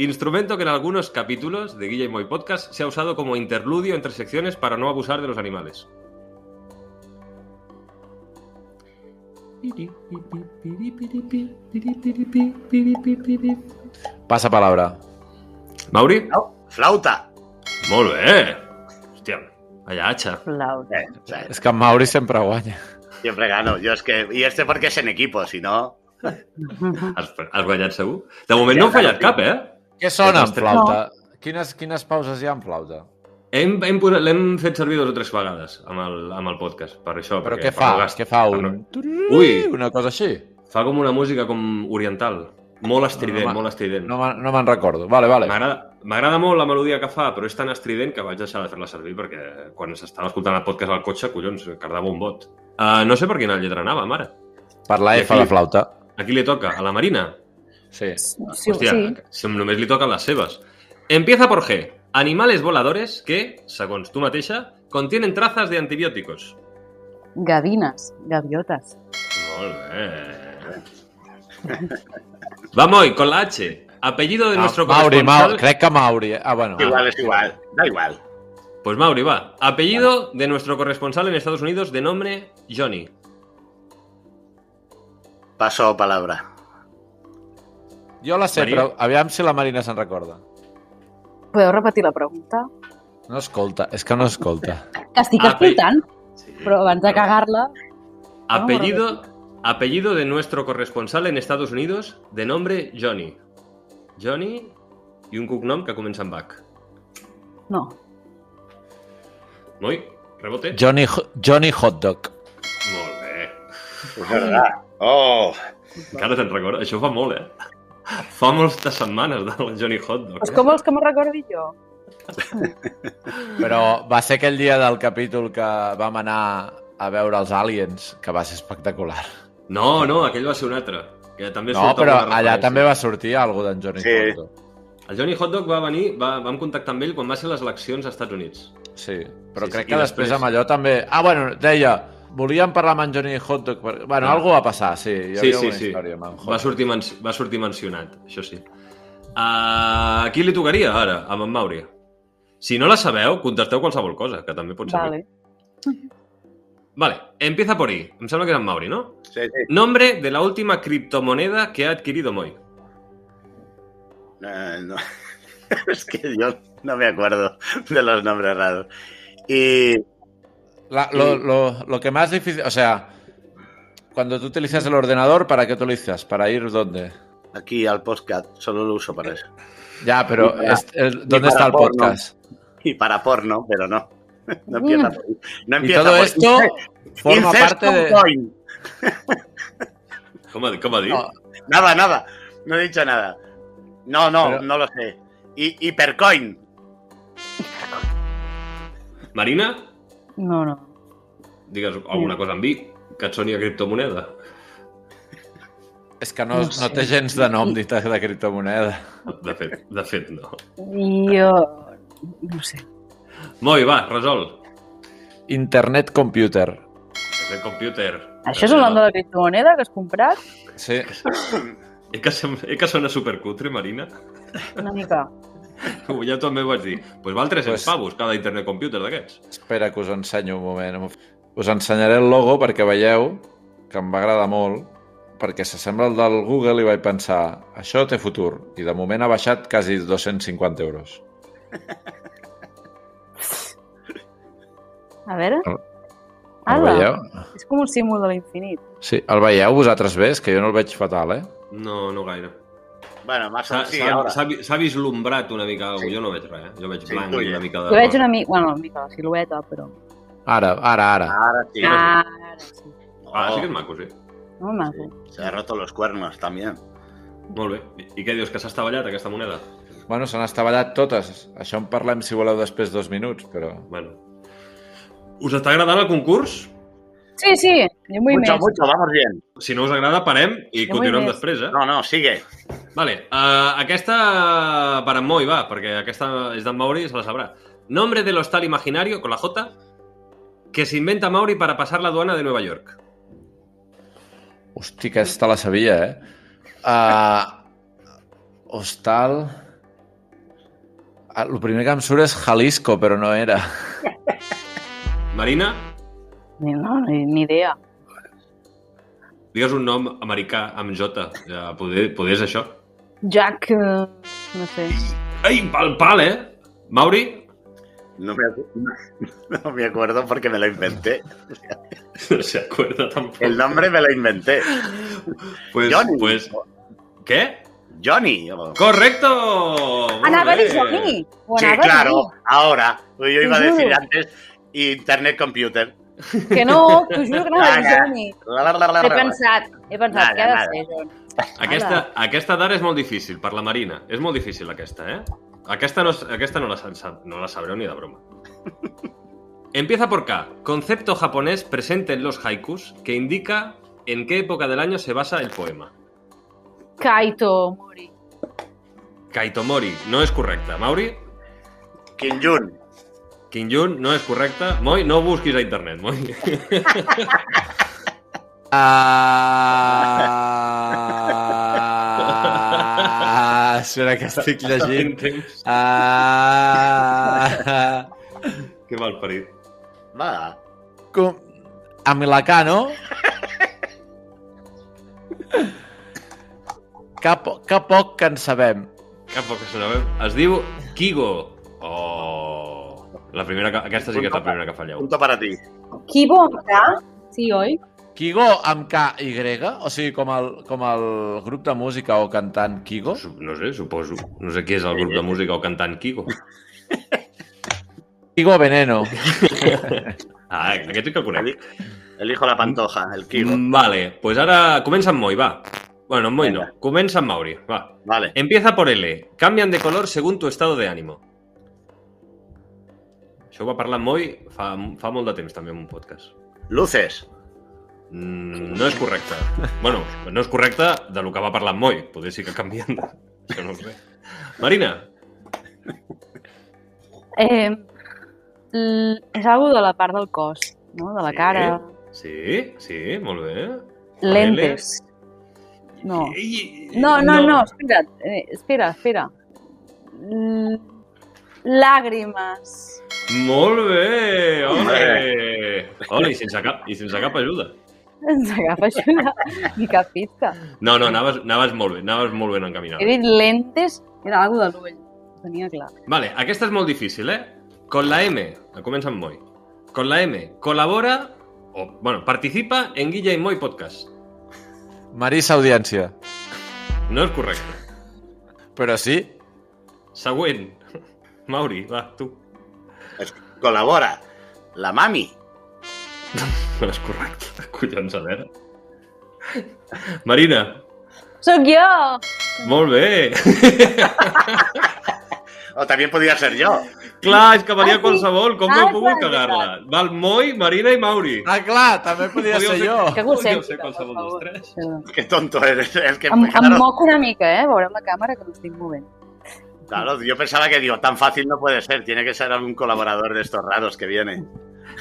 B: Instrumento que en algunos capítulos de Guilla y Moy Podcast se ha usado como interludio entre secciones para no abusar de los animales.
A: Passa palabra.
B: Mauri?
C: No, flauta.
B: Molt bé! Hòstia, vaya hacha.
E: Flauta.
C: Eh, o sea,
A: És que en Mauri sempre guanya.
C: siempre gano. Yo es que. Y este porque es en equipo, si no.
B: Has, has guanyat segur? De moment no heu fallat cap, eh?
A: Què sona amb
B: Nostre.
A: flauta? Quines, quines pauses hi ha amb flauta?
B: Hem, hem posat- L'hem fet servir dues o tres vegades amb el, amb el podcast, per això.
A: Però
B: perquè
A: què
B: per
A: fa?
B: no gast-
A: Què fa?
B: per
A: Un...
B: no- Ui!
A: Una cosa així?
B: Fa com una música com oriental. Molt estrident,
A: No, no,
B: molt estrident.
A: Ah, No, me- no me'n recordo. Vale, vale.
B: M'agrada m'agrada molt la melodia que fa, però és tan estrident que vaig deixar de fer-la servir perquè quan s'estava escoltant el podcast al cotxe, collons, cardava un bot. Uh, no sé per quina lletra anava, mare.
A: Per la
B: I
A: F,
B: aquí?
A: la flauta.
B: A qui li toca? A la Marina?
A: Sí.
E: Sí,
B: Hòstia,
E: sí.
B: si només li toquen les seves. Empieza por G. Animales voladores que, segons tu mateixa, contienen trazas de antibióticos.
E: Gavines. Gaviotes.
B: Molt bé. Vamos, y con la H. Apellido de nuestro
A: Ah, Mauri,
B: corresponsal...
A: Mauri, crec que Mauri. eh? Ah, bueno.
C: Igual es igual. Da igual.
B: Pues Mauri, va. Apellido de nuestro corresponsal en Estados Unidos de nombre Johnny.
C: Paso palabra.
A: Jo la sé,
B: Maria?
A: però aviam si la Marina se'n recorda.
E: Podeu repetir la pregunta?
A: No escolta, és que no escolta.
E: Que estic
B: Ah, bé.
E: escoltant, però abans de cagar-la... Ah,
B: Apellido, apellido de nuestro corresponsal en Estados Unidos de nombre Johnny. Johnny i un cognom que comença amb H.
E: No.
B: Moi, rebote.
A: Johnny, Johnny Hot Dog.
B: Molt bé.
C: Es verdad. Oh,
B: Encara te'n recordo. Això fa molt, eh? Fa moltes setmanes del Johnny Hot Dog. eh?
E: Pues com vols que me'n recordi jo?
A: Però va ser aquell dia del capítol que vam anar a veure els aliens, que va ser espectacular.
B: No, no, aquell va ser un altre. Que també
A: No,
B: surt
A: però
B: alguna
A: allà
B: referència.
A: també va sortir algú d'en Johnny
C: Sí.
A: Hot Dog.
B: El Johnny Hot Dog va venir, va, vam contactar amb ell quan va ser les eleccions als Estats Units.
A: Sí, però
B: Sí, sí,
A: crec
B: i
A: que després...
B: després-
A: amb allò també... Ah, bueno, deia, volíem parlar amb en Johnny Hot Dog. Per... Bueno,
B: Ah.
A: algú va passar, sí. Hi
B: Sí,
A: havia
B: sí,
A: una
B: sí.
A: història amb en Hot
B: Va sortir, men va sortir mencionat, això sí. Uh, a qui li tocaria, ara, amb en Mauri? Si no la sabeu, contesteu qualsevol cosa, que també pot ser.
E: Vale.
B: vale, empieza por I. Em sembla que és en Mauri, no?
C: sí, sí.
B: Nombre de la última criptomoneda que ha adquirido Moy.
C: Eh, no. es que yo no me acuerdo de los nombres raros. Y
A: La- lo, lo- lo que más difícil, o sea, cuando tú utilizas el ordenador, ¿para qué tú utilizas? ¿Para ir dónde?
C: aquí al podcast solo lo uso para eso.
A: Ya,
C: Ni
A: pero
C: para-
A: es- el- ¿dónde
C: para
A: está el
C: porno.
A: podcast?
C: Y para porno, pero no. No empieza por No
A: Mm. Y
C: empieza
A: todo
C: por
A: esto forma
C: Incest
A: parte de...
C: Coin.
B: Com, ha- com ha dit?
A: No.
C: Nada, nada. No he dicho nada. No, no,
A: Pero-
C: no lo sé. Y Hipercoin.
B: Marina,
E: No, no.
B: digues alguna cosa amb I, que et soni a criptomoneda.
A: És que no,
E: No
A: no,
E: sé.
A: té gens de nom dit de criptomoneda.
B: De fet, de fet, no.
E: Jo... No sé.
B: Moi, va, resol.
A: Internet Computer.
B: El computer.
E: Això és un nom de la criptomoneda que has comprat?
A: Sí.
B: Eh que, sem... eh que sona supercutre, Marina?
E: Una mica.
B: Ho- Ja també ho vaig dir. Doncs pues val 300
A: Pues-
B: pavos cada internet computer d'aquests.
A: Espera que us ensenyo un moment. Us ensenyaré el logo perquè veieu que em va agradar molt perquè s'assembla al del Google i vaig pensar això té futur i de moment ha baixat quasi 250 euros.
E: A veure...
A: El
E: Ala.
A: veieu?
E: És com un símbol de l'infinit.
A: Sí, el veieu vosaltres bé? És que jo no el veig fatal, eh?
B: No, no gaire.
C: Bueno,
B: S'ha
C: massa Ah, sí,
B: s'ha-
C: ara.
B: s'ha vi- s'ha vislumbrat una mica algú.
C: Sí.
B: Jo no veig res, eh? Jo veig
C: Sí,
B: blanc
C: tu
B: i
C: ja.
B: una mica de...
E: Jo veig una mica, bueno, una mica la silueta, però...
A: Ara, ara, ara.
C: Ara sí.
E: Ah, ara sí.
B: Ah, sí que és maco, sí.
E: No, maco.
C: Oh, Se ha roto los cuernos, también.
B: Molt bé. I què dius, que s'ha estavellat aquesta moneda?
A: Bueno, s'han estavellat totes. Això en parlem, si voleu, després dos minuts, però...
B: Bueno. Us està agradant el concurs?
E: Sí, sí, jo vull
C: Mucho,
E: més.
C: mucho, vamos bien.
B: Si no us agrada, parem i
E: Jo vull
B: continuem
E: més.
B: després, eh?
C: No, no, sigue.
B: Vale, uh, aquesta per en Moi, va, perquè aquesta és d'en Mauri i se la sabrà. Nombre del hostal imaginario, con la J, que se inventa Mauri para pasar la aduana de Nueva York.
A: Hosti, aquesta la sabia, eh? Uh, hostal... Ah, El primer que em surt és Jalisco, però no era.
B: Marina,
E: Ni- No, ni, ni idea.
B: digues un nom americà amb J. Ja, poder, poder és això?
E: Jack, eh, no sé.
B: Ei, pal, pal, eh? Mauri,
C: No me, acu- no, no me acuerdo porque me lo inventé.
B: no se acuerda tampoc.
C: El nombre me lo inventé.
B: Pues,
C: Johnny.
B: Pues, què?
C: Johnny. o-
B: Correcto! Molt
E: Anava a dir
B: bé.
E: Johnny. Ho
C: Sí,
E: anava a
C: claro. Ahora. Yo iba a
E: Te
C: decir
E: juro.
C: antes Internet Computer.
E: dir. Que no, t'ho juro que anava a dir
C: Ara.
E: Johnny.
C: La, la, la, la,
E: He
C: la.
E: pensat, he pensat,
C: Nada,
E: què ha de
C: nada.
E: ser, Johnny?
B: Aquesta, aquesta d'ara és molt difícil, per la Marina. És molt difícil, aquesta, eh? Aquesta no, aquesta no, la, sa- no la sabreu ni de broma. Empieza por K. Concepto japonés presente en los haikus que indica en qué época del año se basa el poema.
E: Kaito Mori.
B: Kaitomori no es correcta. Mauri,
C: Kim Jun.
B: Kinyun no es correcta. Moi, no busquis a internet, Moi.
A: Ah... Espera, que estic llegint. Ah...
B: que mal parit.
C: Va.
A: Com... A Milacà, no? Que, po que poc que en sabem.
B: Cap poc que se n'avem. Es diu Kigo. Oh. La primera que... Aquesta sí que és la primera que falleu.
C: Punto para ti.
E: Kibo amb K? Sí, oi?
A: Kigo amb K-Y, o sigui, com el, com el grup de música o cantant Kigo.
B: Su- No sé, suposo. No sé qui és el grup de música o cantant Kiko.
A: Kigo Veneno.
B: Ah, aquest sí que el
C: El,
B: conec.
C: el hijo de la pantoja, el Kigo.
B: Mm, Vale, doncs pues ara comença amb Moi, va. Bueno, amb Moi no. Comença amb Mauri, va.
C: Vale.
B: Empieza por L. Cambian de color según tu estado de ánimo. Això ho va parlar en Moi fa, fa molt de temps, també, en un podcast.
C: Luces.
B: Mm, no és correcte. Bueno, no és correcte de lo que va parlar en Moi. Poder sí que canvien. de- Això no ho sé. Marina,
E: Eh, l- és algo de la part del cos, no? de la
B: Sí.
E: cara.
B: sí, sí, molt bé.
E: Lentes. No.
B: I- i-
E: No, no, no, espera't. Eh, espera, espera. Mm, Làgrimes.
B: Molt bé! Ole! Ole, i sense cap, i sense cap ajuda.
E: Ens agafa ajuda. Ni cap pista.
B: No, no, anaves, anaves molt bé, anaves molt ben
E: He
B: encaminada.
E: dit lentes, era algo de l'ull. Ho tenia clar.
B: Vale, aquesta és molt difícil, eh? Con la M, comença amb Moi. Con la M, colabora, o, bueno, participa en Guilla i Moi Podcast.
A: Marisa Audiència.
B: No és correcte.
A: Però sí,
B: Següent. Mauri, va, tu.
C: Es- Colabora. La mami.
B: No és correcte. Collons, a veure. Marina,
E: Sóc jo!
B: molt bé.
C: O también podía ser yo.
B: Clar, és que valia
E: Ah, sí.
B: qualsevol. Com
E: Ah,
B: que heu
E: és
B: pogut
E: veritat.
B: cagar-la? Val Moi, Marina i Mauri.
A: Ah, clar, també podia
B: Podíeu
A: ser
B: ser-
A: jo.
E: Que algú ho
B: Podríeu
E: senti,
B: ser Oh, qualsevol
E: per
B: dels
E: favor.
B: tres.
E: Perdó.
C: Qué tonto eres. Es que,
E: Em, em
C: claro,
E: moc una mica, eh? Veurem la càmera que no estic movent.
C: claro, yo pensaba que digo, tan fácil no puede ser. Tiene que ser algún colaborador de estos raros que vienen.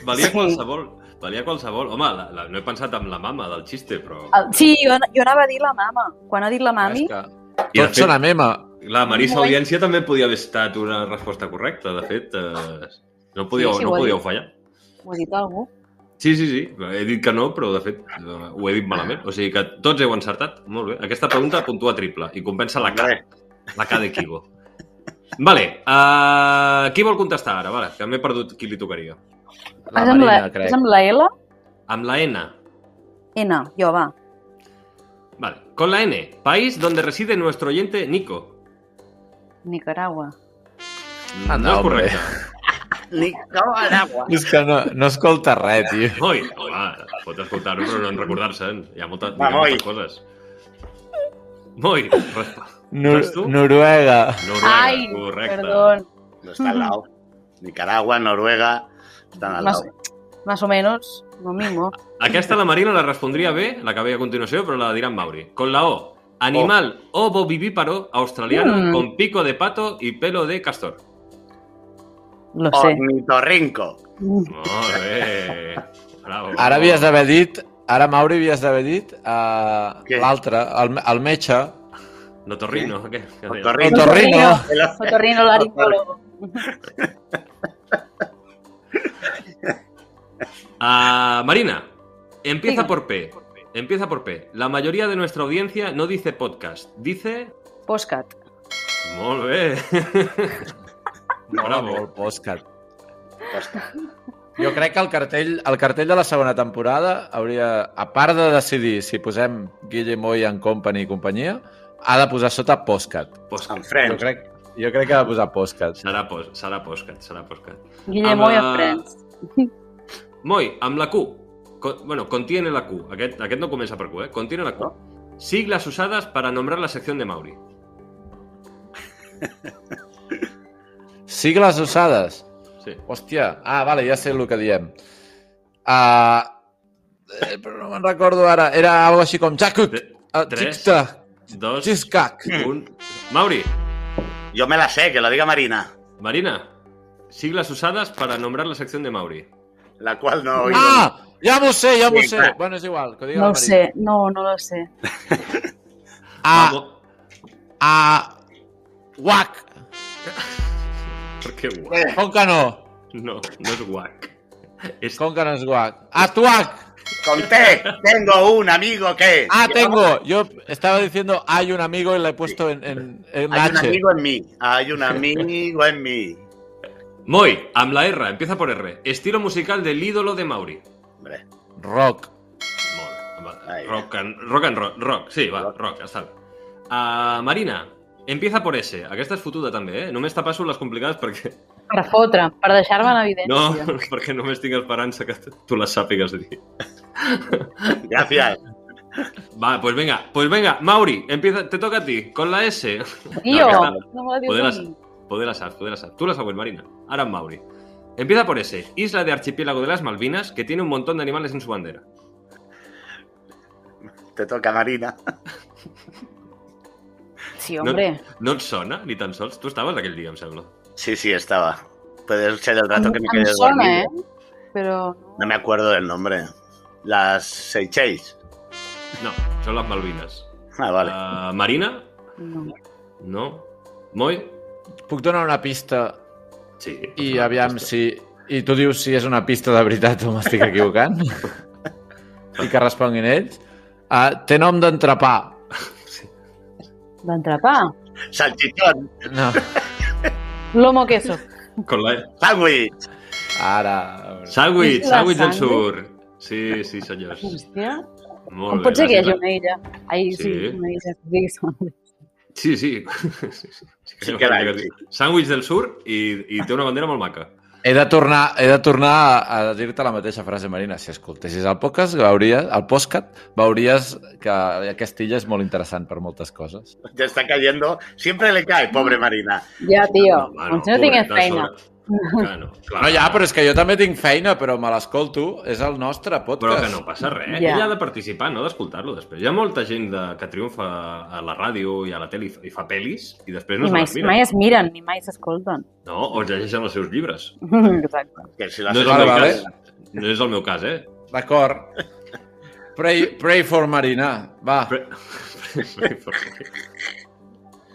B: Valia
E: Sí.
B: qualsevol. Valia qualsevol. Home, la, la, no he pensat en la mama del xiste, però...
E: El- Sí, jo, jo anava a dir la mama. Quan ha dit la mami,
A: És que
B: I, de
A: Tots
B: fet,
A: són a mema.
B: la Marisa
E: Moi.
B: Audiència també podia haver estat una resposta correcta. De fet, eh, no, podíeu,
E: Sí, sí,
B: no
E: ho ha
B: podíeu
E: dit.
B: fallar.
E: ho ha dit algú.
B: Sí, sí, sí. He dit que no, però de fet eh, ho he dit malament. O sigui que tots heu encertat. Molt bé. Aquesta pregunta puntua triple i compensa la K,
C: Hombre,
B: la K de Kigo. Vale, eh, uh, qui vol contestar ara? Vale, que m'he perdut qui li tocaria.
A: La
E: és amb la,
A: Marina, crec.
E: és amb la L?
B: Amb la N.
E: N, jo, va.
B: Vale. Con la N. País donde reside nuestro oyente Nico. Mm,
E: Nicaragua.
B: No,
A: Anda,
B: és
A: hombre.
B: correcte.
C: Ni cau a l'aigua.
A: És que no, no escolta res, tio.
B: Oi, home, pot escoltar-ho però no en recordar-se'n. Hi ha molta, hi
C: Va,
B: ha moltes
C: Moi.
B: coses. Moi, respa.
A: Nor
B: Saps tu?
A: Noruega.
B: Noruega,
E: Ai,
B: correcte.
E: perdón.
C: No està al lado. Nicaragua, Noruega, estan
B: Ah,
C: al
E: Más,
C: lado.
E: más o menos, lo mismo.
B: Aquesta la Marina la respondria bé, la que ve a continuació, però la dirà en Mauri. Con la O. Animal
C: Oh.
B: ovovivíparo australiano
E: Mm.
B: con pico de pato y pelo de castor.
E: Lo
B: Oh,
E: sé.
C: Ornitorrinco.
B: Molt bé. Bravo.
A: Ara havies d'haver dit... Ara, Mauri, havies d'haver dit uh,
C: Què?
A: l'altre, el, el metge.
B: No torrino, què? Què deia?
C: Ornitorrinco.
A: Otorrino.
E: Otorrino laringólogo.
B: Ah, Marina, empieza
E: Diga.
B: por P. Empieza por P. La mayoría de nuestra audiencia no dice podcast, dice...
E: Postcat.
B: Molt bé. Bravo.
A: Molt postcat. Jo crec que el cartell, el cartell de la segona temporada hauria, a part de decidir si posem Guillermo i en Company i companyia, ha de posar sota postcat.
C: En
B: Podcast.
A: Jo
C: Friends.
A: crec, jo crec que ha de posar postcat.
B: Serà, Pues, pos, serà podcast, serà podcast.
E: Guillermo i
B: Amb la-
E: en Friends.
B: Moi, amb la Q. Co- bueno, contiene la Q. Aquest, aquest no comença per Q, eh? Contiene la Q. Siglas usadas para nombrar la sección de Mauri.
A: Sigles usades.
B: Sí.
A: Hòstia, ah, vale, ja sé el que diem. Ah, eh, però no me'n recordo ara. Era algo així com Jacob,
B: Tre-
A: uh,
B: tres,
A: Ticta,
B: Dos,
A: Giscac.
B: un... Mauri,
C: Jo me la sé, que la diga Marina,
B: Marina, siglas usadas para nombrar la sección de Mauri.
C: la qual no... oigo.
A: Ah, ja m'ho sé, ja m'ho
C: Sí,
A: sé.
C: clar.
A: Bueno, és igual, que ho digui
E: No
A: la
E: ho
A: Marina.
E: sé, no, no lo sé.
A: A,
B: Vamos.
A: a, guac.
B: Per què guac?
C: Eh,
A: Com que no?
B: No, no és guac. És
A: Com que no és Ah, guac? A tuac.
C: Conté, tengo un amigo que...
A: Ah, tengo. Yo estaba diciendo hay un amigo y le he puesto en, en, en
C: Hay un
A: H.
C: amigo en mí. Hay un amigo en mí.
B: Moi, amb la R, empieza por R. Estilo musical del ídolo de Mauri.
C: Hombre,
A: Rock.
B: Molt. va,
C: Ahí.
B: Rock and, rock and roll, rock, sí, va,
C: Rock.
B: rock, ja està. Uh, Marina, empieza por S. Aquesta és fotuda també, eh? Només te passo les complicades perquè...
E: Per fotre, per deixar-me en
B: No,
E: evidència.
B: perquè només tinc esperança que tu les sàpigues dir.
C: gracias.
B: Va, pues venga, pues venga, Mauri, empieza, te toca a ti, con la S.
E: Tio,
B: No, aquesta-
E: no me la dius
B: Poder
E: a
B: les-
E: mi.
B: Poder la saps, poder la saps. Tú la sabes, Marina. Ahora en Mauri. Empieza por S. Isla de archipiélago de las Malvinas que tiene un montón de animales en su bandera.
C: Te toca, Marina.
E: Sí, hombre.
B: No et sona, ni tan sols? Tu estaves aquell dia, em sembla.
C: Sí, sí, estaba. Puede ser el rato que me
E: em
C: quedé
E: sona,
C: dormido.
E: eh? Però
C: No me acuerdo del nombre. Las Seychelles.
B: No, són les Malvines.
C: Ah, vale.
B: Uh, Marina?
E: no.
B: No. Moi?
A: Puc donar una pista
B: Sí.
A: i aviam si... I tu dius si és una pista de veritat o m'estic equivocant? I que responguin ells. Ah, té nom d'entrepà.
E: D'entrepà.
C: Salchichón.
A: No,
E: Lomo queso.
B: Con la... E.
C: Sándwich.
A: ara...
B: Sandwich,
E: Isla
B: sandwich del
E: Sandwich?
B: sur. Sí, sí, senyors.
E: Hòstia.
B: Molt
E: Com
B: bé.
E: pot ser que hi hagi
B: gràcies.
E: una illa? Ai, sí,
B: Sí.
E: una illa. que es digui Sandwich.
B: Sí, sí. sí, sí.
C: Sí que l'ha dit.
B: Sandwich del sur i, i té una bandera molt maca.
A: He de tornar, he de tornar a, a dir-te la mateixa frase, Marina. Si escoltessis el podcast, veuries, el podcast, veuries que aquesta illa és molt interessant per moltes coses.
C: Ya está cayendo. Siempre le cae, pobre Marina.
E: Ja, tio.
B: No, va,
E: Com si no tingués
B: pobreta,
E: feina.
B: sobre. Clar, no, clar.
A: No, ja, però és que jo també tinc feina, però me l'escolto. És el nostre
B: Però
A: podcast.
B: que no passa res.
E: Ja.
B: Ella ha de participar, no d'escoltar-lo després. Hi ha molta gent de, que triomfa a la ràdio i a la tele i fa, i fa pel·lis i després no
E: Ni
B: se
E: mai,
B: les mira.
E: mai es miren, ni mai s'escolten.
B: No, o es llegeixen els seus llibres.
E: Exacte.
C: Que si la
B: No és, el
A: Vale,
B: meu
A: vale.
B: cas, no és el meu cas, eh?
A: D'acord. Pray, pray for Marina. Va.
B: Pre- Pray for me.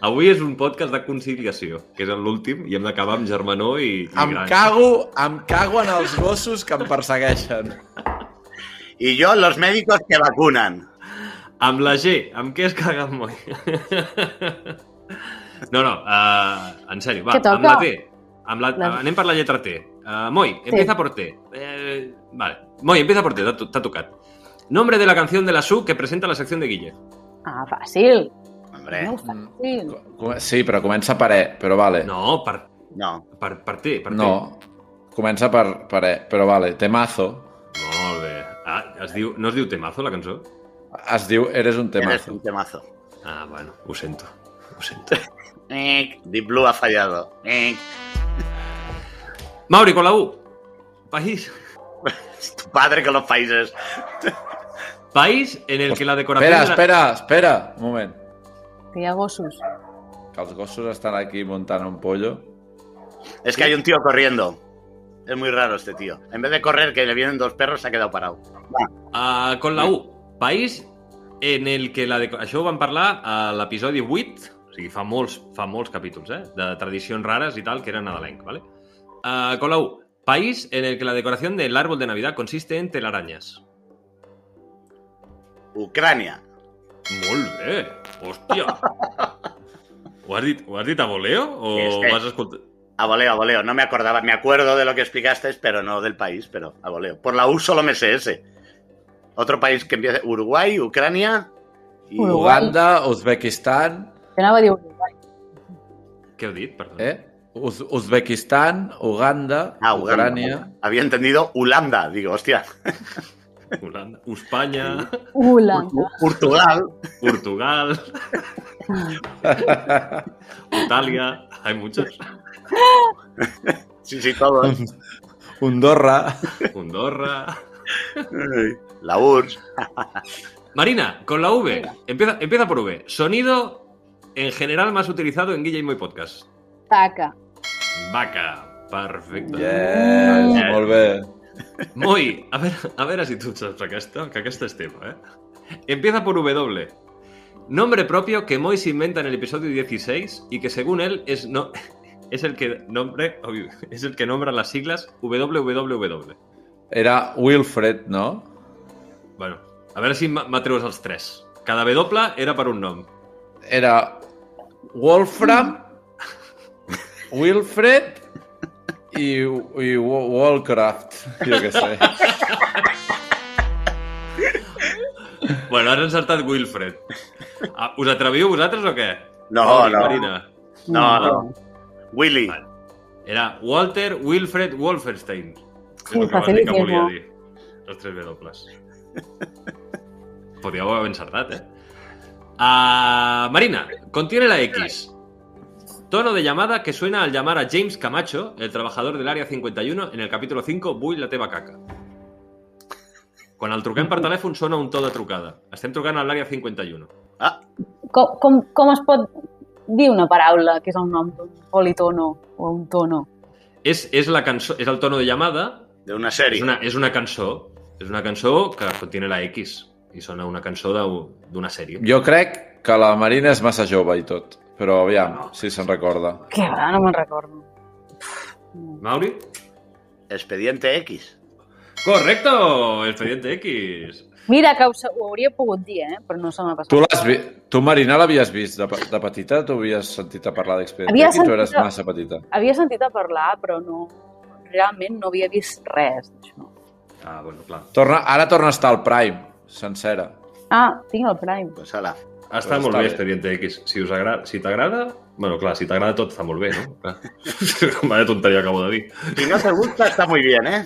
B: Avui és un podcast de conciliació, que és l'últim, i hem d'acabar amb germanor i, i
A: Em
B: gran.
A: cago, em cago en els gossos que em persegueixen.
C: Y yo, los médicos que vacunan.
B: Amb la G, amb què es caga en Moi? no, no, uh, en sèrio, va,
E: Què toca?
B: amb la T. Amb la,
E: La-
B: Anem per la lletra T. Uh, Moi, empieza por T. Eh, eh, vale. Muy, empieza por ti, te ha to- te ha tocado. Nombre de la canción de la SU que presenta la sección de Guille.
E: Ah, fàcil.
C: Hombre,
E: Molt fàcil.
A: Com- Sí, però comença per E, però vale.
B: No, per,
C: no.
B: per, per té, per té.
A: No, comença per, per E, però vale. Temazo.
B: Molt bé. Ah, es diu, no es diu temazo, la cançó?
A: Es diu Eres un
C: Eres
A: temazo.
C: un temazo.
B: Ah, bueno, ho sento. Ho sento.
C: Eh, Deep Blue ha fallado. Eh,
B: Mauri, con la U. País.
C: es tu padre que los países.
B: País en el que la decoración...
A: Espera,
B: de la-
A: espera, espera, un moment.
E: Que hi ha gossos.
A: Que els gossos estan aquí muntant un pollo.
C: Es que hay un tío corriendo. Es muy raro este tío. En vez de correr, que le vienen dos perros, se ha quedado parado.
B: Ah, con la U. País en el que la decoración... Això ho vam parlar a l'episodi 8, o sigui, fa molts, fa molts capítols, eh? De tradicions rares i tal, que era nadalenc, ¿vale? Ah, con la U. País en el que la decoración del árbol de Navidad consiste en telarañas.
C: Ucrania.
B: Molt bé. Hòstia. ho, has dit, ho has dit a voleo o
C: Sí, sí.
B: vas escoltar...
C: A voleo, a voleo. No me acordaba. Me acuerdo de lo que explicaste, pero no del país, pero a voleo. Por la U solo me sé ese. Otro país que empieza... Uruguay, Ucrania y...
E: Uruguay.
A: Uganda, Uzbekistan,
E: Jo anava a dir Uruguai.
B: Què heu dit? Perdó.
A: eh? Uz Uzbekistan, Uganda,
C: Ah, Uganda.
A: Ucrania...
C: Había entendido Holanda. Digo, hostia.
B: Holanda, Espanya,
E: ¡Uh, Holanda.
C: Portugal.
B: Portugal, Italia, hay muchos.
C: Sí, ¿eh? sí, todos.
A: Andorra.
B: Andorra.
C: La URSS.
B: Marina, con la V. Empieza, empieza por V. Sonido en general más utilizado en Guille y Moy Podcast.
E: Taca.
B: Vaca. Perfecte.
A: Yes,
B: Mm.
A: molt bé.
B: Moi, a veure, a veure si tu et saps aquesta, que aquesta és teva, eh? Empieza por W. Nombre propio que Moy se inventa en el episodio 16 y que según él es no es el que nombre uy, es el que nombra las siglas www.
A: Era Wilfred, no?
B: Bueno, a veure si m- m'atreus els tres. Cada W era per un nom.
A: Era Wolfram, Wilfred i, i Wa- Wallcraft, jo què sé.
B: Bueno, has encertat Wilfred. Ah, Us atreviu vosaltres o què?
C: No, no.
B: Marina.
C: No, no. Willy.
B: Vale. Era Walter Wilfred Wolfenstein. És el
E: Ui,
B: que vas dir que
E: facilísimo.
B: volia dir. Els tres dobles. Podíeu haver encertat, eh? Ah, Marina, contiene la X. Tono de llamada que suena al llamar a James Camacho, el trabajador del Área 51, en el capítulo 5, Vull la teva caca. Quan el truquem per telèfon sona un to de trucada. Estem trucant a l'Àrea 51.
E: Com, com, com es pot dir una paraula que és el nom d'un politono o un tono?
B: És, és, la cançó, és el tono de llamada
C: De una
B: És
C: serie.
B: una, és una cançó, és una cançó que contiene la X i sona una cançó de- d'una sèrie.
A: Jo crec que la Marina és massa jove i tot, però aviam, si se'n recorda.
E: Què va, no me'n recordo.
B: Mauri?
C: Expediente X.
B: Correcto! Expediente X.
E: Mira, que ho, sa- ho hauria pogut dir, eh? però no se m'ha passat.
A: Tu, l'has vi... tu Marina, l'havies vist de, pe- de petita? Tu havies sentit a parlar d'Expedient
E: Havia
A: X? Tu
E: sentit
A: eres
E: a-
A: massa petita.
E: Havia sentit a parlar, però no, realment no havia vist res d'això.
B: Ah, bueno, clar.
A: Torna... Ara torna a estar al Prime, sencera.
E: Ah, tinc el Prime.
C: Pues ala.
B: Ha estat
A: Doncs
B: Ah, molt
A: està
B: bé,
A: bé.
B: Expediente X. Si us agrada, si t'agrada... Bueno, clar, si t'agrada tot està molt bé, no? Clar. Vaya tonteria acabo de dir.
C: Si no te gusta, está muy bien, ¿eh?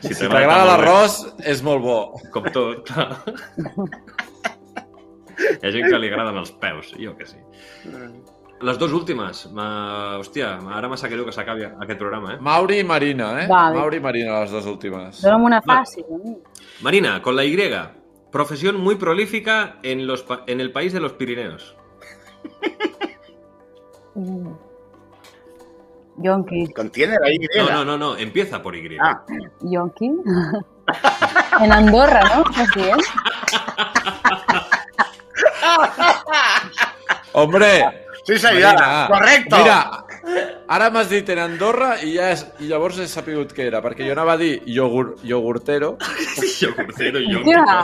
A: Si t'agrada
B: està molt bé.
A: l'arròs, és molt bo.
B: Com tot, clar. Hi ha gent que li agraden els peus, jo que sí. Les dues últimes. Ma... Hòstia, ara m'ha sap greu que s'acabi aquest programa, eh?
A: Mauri i Marina, eh?
E: Vale.
A: Mauri i Marina, les dues últimes.
E: Dóna'm una
B: Va.
E: fàcil. a mi.
B: Marina, con la Y. Profesión muy prolífica en, los pa- en el país de los Pirineos.
E: Mm. Yonki.
C: Contiene la Y.
B: No, no, no, no, empieza por Y.
C: Ah.
E: Yonki? en Andorra, no? Estàs dient?
A: Hombre!
C: Sí, señora.
A: Marina,
C: Correcto.
A: Mira, ara m'has dit en Andorra i ja és, i llavors he sapigut què era, perquè jo anava a dir yogur, iogurtero,
B: Yogurtero, yogurtero.
E: Ja.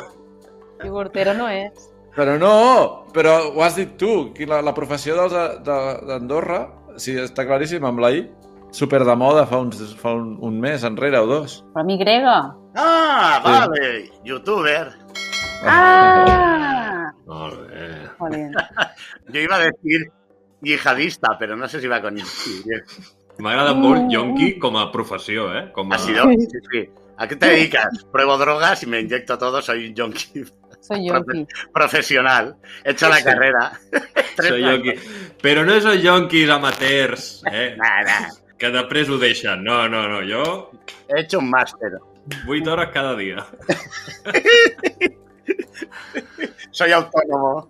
E: Yogurtero no és.
A: però no, però eh, ho has dit tu, que la, la professió dels- de- d'Andorra, sí, està claríssim amb la I, super de moda fa, uns, fa un, un mes enrere o dos.
E: Però mi grega.
C: Ah, vale, youtuber.
E: Ah!
B: Molt bé.
E: Jolín.
C: Yo iba a decir yihadista, pero no sé si va con... Ha
B: M'agrada molt Yonki com a professió, eh? Com a...
C: Mm. sido... Sí, sí. ¿A qué te dedicas? Pruebo drogas y me inyecto todo, soy un junkie
E: Soy yonqui.
C: profesional. He hecho la carrera. Tres
B: Soy
C: años.
B: yonqui. Però no són yonquis amateurs, eh?
C: Nah, nah.
B: Que després ho deixen. No, no, no. Jo,
C: He hecho un máster.
B: 8 hores cada dia.
C: Soy autónomo.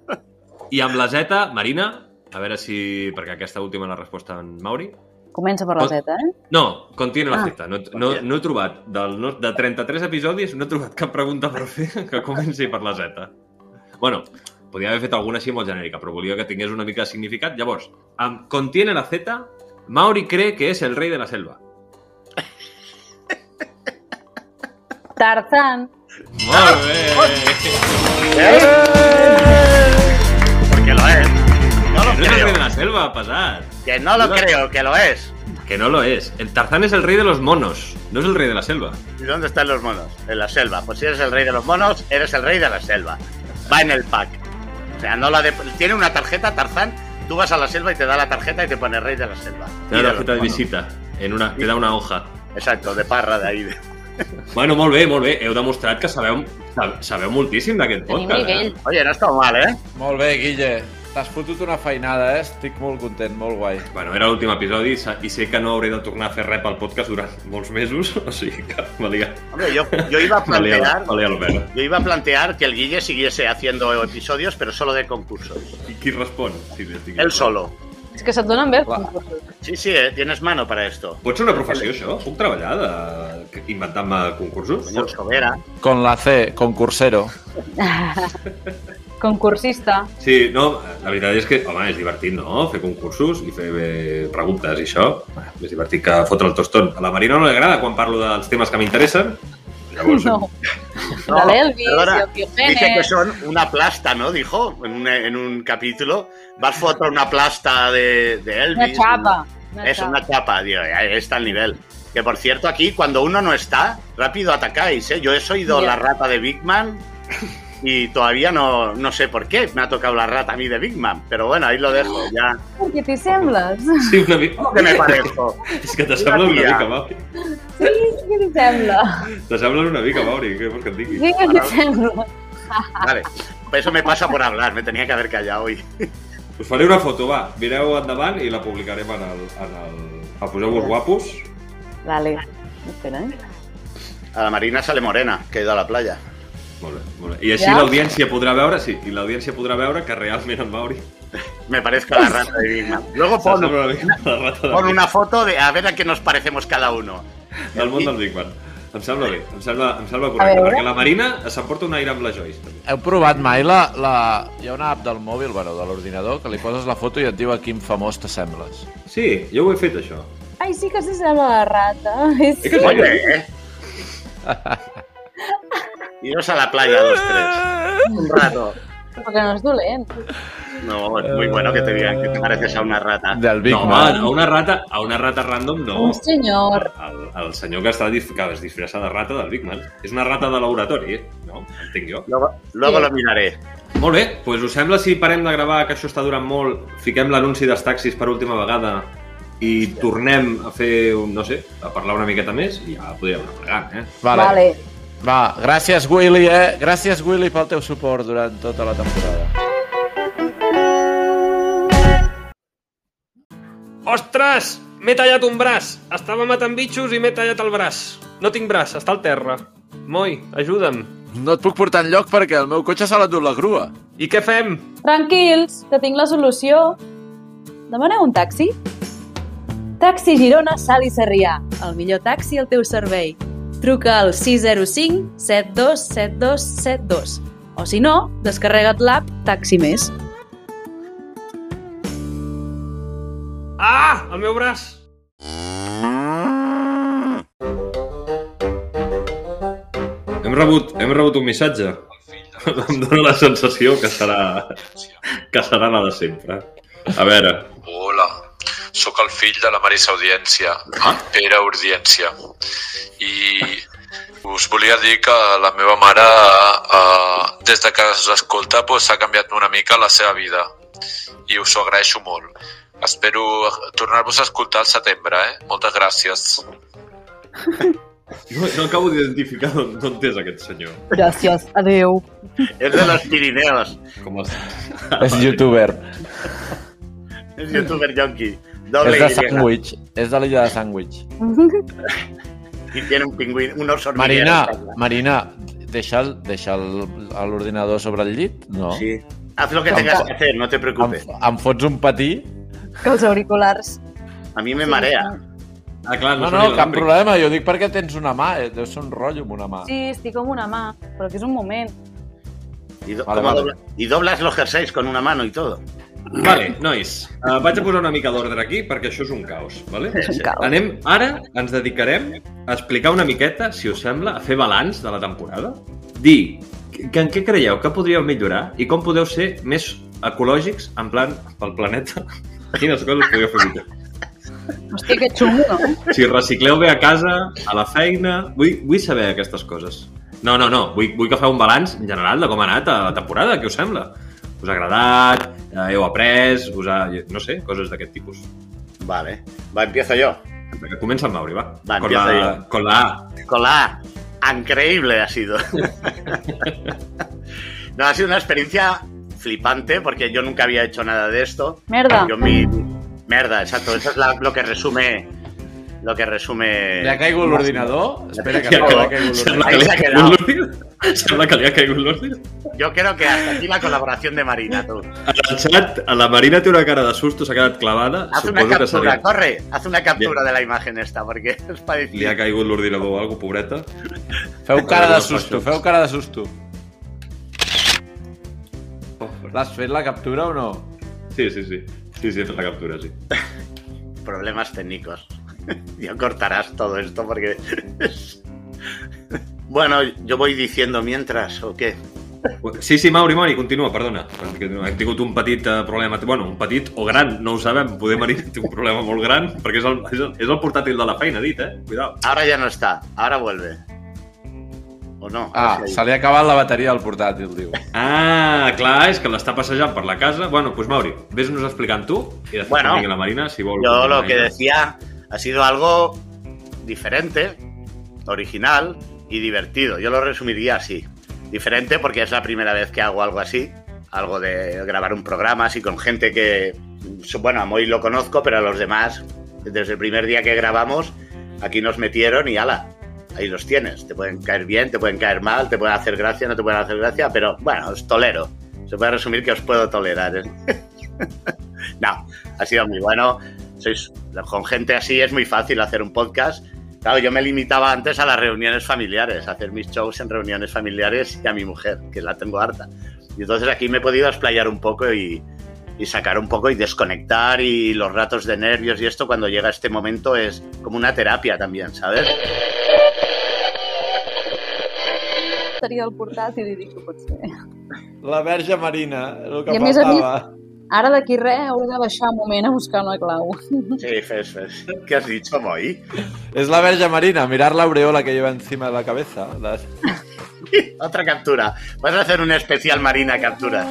B: I amb la Z, Marina, a veure si... Perquè aquesta última la resposta en Mauri.
E: Comença per la Z, eh?
B: No, continua la
E: Ah.
B: Z. No, no, no he trobat, del, no, de 33 episodis, no he trobat cap pregunta per fer que comenci per la Z. Bueno, podia haver fet alguna així molt genèrica, però volia que tingués una mica de significat. Llavors, amb Contiene la Z, Mauri cree que és el rei de la selva.
E: Tarzan.
B: Molt bé!
C: Porque lo es. No lo
B: No és el rei de
C: creo.
B: la selva, pesat.
C: Que no lo creo, que lo es.
B: Que no lo és. El Tarzán és el rei de los monos, no és el rei de la selva.
C: ¿Y dónde están los monos? En la selva. Pues si eres el rey de los monos, eres el rey de la selva. Va en el pack. O sea, no la de... tiene una tarjeta, Tarzán. Tú vas a la selva y te da la tarjeta y te pone rey de la selva.
B: Té una
C: Y de
B: tarjeta de
C: los monos.
B: visita. En una, te da una hoja.
C: Exacto, de parra de ahí.
B: Bueno, molt bé, molt bé. Heu demostrat que sabeu, sabeu moltíssim d'aquest
E: Tenim
B: podcast. eh?
E: nivell.
C: Oye, no ha estado mal, ¿eh?
A: Molt bé, Guille. T'has fotut una feinada, eh? Estic molt content, molt guai.
B: Bueno, era l'últim episodi sa- i sé que no hauré de tornar a fer res pel podcast durant molts mesos, o sigui que valia,
C: Hombre, yo, yo iba a
B: valia, la-
C: plantear...
B: valia la pena.
C: Yo iba a plantear que el Guille siguiese haciendo episodios, pero solo de concursos.
B: I qui respon? Sí, sí, estic-
C: Él solo.
E: És que se't donen bé.
A: Clar.
C: Sí, sí, ¿eh? tienes mano para esto.
B: Pot ser una professió, això? Puc treballar de... inventant-me concursos?
C: Señor Sobera.
A: Con la C, concursero.
E: Concursista.
B: Sí, no, la veritat és que, home, és divertit, no?, fer concursos i fer eh, preguntes i això. És divertit que fotre el tostón. A la Marina no li agrada quan parlo dels temes que m'interessen. Llavors,
E: No.
C: No,
E: de l'Elvis
C: perdona,
E: i el Tio
C: Dice que
E: Jiménez.
C: son una plasta, ¿no? Dijo en un, en un capítulo. Vas foto una plasta de, de Elvis.
E: Una xapa. Una
C: Es una chapa, tío. Ahí está el nivel. Que por cierto, aquí cuando uno no está, rápido atacáis, ¿eh? Yo he oído
E: Ya.
C: la rata de Big Man y todavía no, no sé por qué me ha tocado la rata a mí de Big Man. Pero bueno, ahí lo dejo, ya.
E: Perquè t'hi sembles.
B: sí, una mica...
C: ¿Qué me parezco?
B: És que t'assembles una
C: Una tia.
B: mica, Mauri.
E: Sí, sí que t'hi sembla.
B: T'assembles una mica, Mauri, què vols que et digui?
E: Sí que t'hi sembla.
C: Vale. Pues eso me pasa por hablar, me tenía que haber callado hoy.
B: Us faré una foto, va. Mireu endavant i la publicarem en el... En el... A poseu-vos guapos.
E: Vale. Espera, eh?
C: A la Marina sale morena, que ha ido a la playa.
B: Molt bé, molt bé. I així
E: Ja.
B: l'audiència podrà veure, sí, i l'audiència podrà veure que realment en Mauri
C: Me parezco a la rata de Big Man. Luego pon,
B: s'assembla una mica a la rata de
C: pon una foto de a ver a qué nos parecemos cada uno.
B: del món del Big Bang. Em sembla bé, em sembla, em sembla correcte,
E: veure.
B: perquè la Marina s'emporta un aire amb la Joyce. També.
A: Heu provat mai la, la... Hi ha una app del mòbil, bueno, de l'ordinador, que li poses la foto i et diu a quin famós t'assembles.
B: Sí, jo ho he fet, això.
E: Ai, sí que s'hi sembla la rata. Ai,
B: Eh
E: sí.
B: que sí?
C: Oye, ¿eh? Iros a la playa los tres. Un rato.
E: Però que no és dolent.
C: No, es muy bueno que te digan que te pareces a una rata.
A: Del Big
B: Ah, No, home,
A: Man.
B: a una rata, a una rata random no.
E: Un senyor.
B: El, el senyor que, està dif... que es disfressa de rata del Big Man. És una rata de l'oratori, no? Entenc jo.
C: Luego, luego
E: Sí.
C: lo miraré.
B: Molt bé, doncs us sembla si parem de gravar, que això està durant molt, fiquem l'anunci dels taxis per última vegada i tornem a fer, un- no sé, a parlar una miqueta més i ja podríem anar plegant, eh?
A: Vale. vale. Va, gràcies, Willy, eh? Gràcies, Willy, pel teu suport durant tota la temporada.
G: Ostres! M'he tallat un braç! Estava matant bitxos i m'he tallat el braç. No tinc braç, està al terra. Moi, ajuda'm.
A: No et puc portar enlloc perquè el meu cotxe se l'ha endut la grua.
G: I què fem?
E: Tranquils, que tinc la solució. Demaneu un taxi? Taxi Girona, Sal i Sarrià. El millor taxi al teu servei. Truca al 605 727272 O si no, descarrega't l'app Taxi Més.
G: Ah! El meu braç!
B: Hem rebut, hem rebut un missatge. em dóna la sensació que serà, que serà la de sempre. A veure,
H: Hola, Sóc el fill de la Marisa Audiència, Pere Audiència. I us volia dir que la meva mare, eh, des de que us escolta, doncs, ha canviat una mica la seva vida. I us ho agraeixo molt. Espero tornar-vos a escoltar al setembre, eh? Moltes gràcies.
B: No, no acabo d'identificar d'on d'on és aquest senyor.
E: Gràcies, adeu.
C: És de les Pirinees.
B: Com es...
A: És youtuber.
C: És youtuber yonqui.
A: És
C: Doble
A: de
C: Y.
A: Sandwich. És de l'illa de Sandwich.
C: Y tiene un pingüino, unos hormigueros.
A: Marina, Marina, deixa el- deixa el- a l'ordinador sobre el llit? No.
C: Sí. Haz lo que tengas que hacer, no te
A: Em,
C: preocupes.
A: em fots un patí?
E: Que els auriculars...
C: A mí me marea.
B: Ah, clar,
A: No,
B: no,
A: no, cap
B: són il·làmbrics.
A: problema. Jo dic perquè tens una mà. eh, Deu ser un rotllo amb una mà.
E: Sí, estic com una mà, però que és un moment.
C: Y, do-
A: Vale,
C: como
A: vale.
C: dobla- y doblas los jerseys con una mano y todo.
B: Vale, nois, uh, vaig a posar una mica d'ordre aquí perquè això és un caos, vale?
E: És un caos.
B: Anem, ara ens dedicarem a explicar una miqueta, si us sembla, a fer balanç de la temporada, dir que en què creieu que podríeu millorar i com podeu ser més ecològics en plan pel planeta. Quines coses podríeu fer millor.
E: Hòstia, que xungo, no?
B: Si recicleu bé a casa, a la feina... Vull, vull saber aquestes coses. No, no, no. Vull, vull que feu un balanç en general de com ha anat a la temporada, què us sembla? Us ha agradat? Eh, Heu après? Us ha... No sé, coses d'aquest tipus.
C: Vale. Va, empiezo yo.
B: Vinga, Comença el Mauri, va.
C: Va,
B: con,
C: empieza
B: la, con la A.
C: Con la A. Ah, Increíble ha sido. no, ha sido una experiencia flipante porque yo nunca había hecho nada de esto.
E: Merda.
C: Yo mi... Merda, exacto. Eso es la- lo que resume... Lo que resume...
A: Li ha caigut l'ordinador? Espera que
B: Ja
A: no,
B: que-
A: li ha caigut l'ordinador.
B: Sembla que,
C: Ahí
B: li
C: s'ha
B: ha caigut
C: quedat.
B: l'ordinador. Sembla que li ha caigut l'ordinador.
C: Yo creo que hasta aquí la colaboración de Marina, tú.
B: En el xat, la Marina té una cara de susto, s'ha quedat clavada.
C: Haz una
B: Suposo que se li,
C: captura, corre. Haz una captura de la imagen esta, porque es para decir-
B: li ha caigut l'ordinador o alguna pobreta.
A: Feu cara de susto, feu cara de susto. L'has fet la captura o no?
B: Sí, sí, sí. Sí, sí, la captura, sí.
C: problemas técnicos. Ya cortarás todo esto porque... es- bueno, yo voy diciendo mientras, ¿o qué?
B: Sí, sí, Mauri, Mauri, continua, perdona. perquè Hem tingut un petit eh, problema. Bueno, un petit o gran, no ho sabem. Poder Marina té un problema molt gran, perquè és el, és el, és el portàtil de la feina, dit, eh? Cuidao.
C: Ahora ya no está, ahora vuelve. ¿O no?
A: Ah,
C: Sí.
A: se li ha acabat la bateria del portàtil, diu.
B: Ah, clar, és que l'està passejant per la casa. Bueno, doncs Mauri, vés-nos explicant tu i després
C: Bueno,
B: bueno, la Marina, si vol. eh?
C: Yo lo
B: Marina.
C: que decía ha sido algo diferente, original y divertido. Yo lo resumiría así. Diferente porque es la primera vez que hago algo así, algo de grabar un programa así con gente que, bueno, a Moy lo conozco, pero a los demás, desde el primer día que grabamos, aquí nos metieron y ala, ahí los tienes. Te pueden caer bien, te pueden caer mal, te pueden hacer gracia, no te pueden hacer gracia, pero bueno, os tolero. Se puede resumir que os puedo tolerar. ¿eh? no, ha sido muy bueno sois, con gente así es muy fácil hacer un podcast. Claro, yo me limitaba antes a las reuniones familiares, a hacer mis shows en reuniones familiares y a mi mujer, que la tengo harta. Y entonces aquí me he podido explayar un poco y, y sacar un poco y desconectar y los ratos de nervios y esto cuando llega este momento es como una terapia también, ¿sabes?
E: Estaria el portàtil i dic que pot ser.
A: La verge marina, el que
E: I a més a
A: faltava.
E: més- Ara d'aquí res hauré de baixar un moment a buscar una clau.
C: Sí, fes, fes. ¿Qué has dicho, Moy?
A: Es la Verge Marina, mirar la aureola que lleva encima de la cabeza. Las-
C: Otra captura. Vas a hacer un especial Marina Capturas.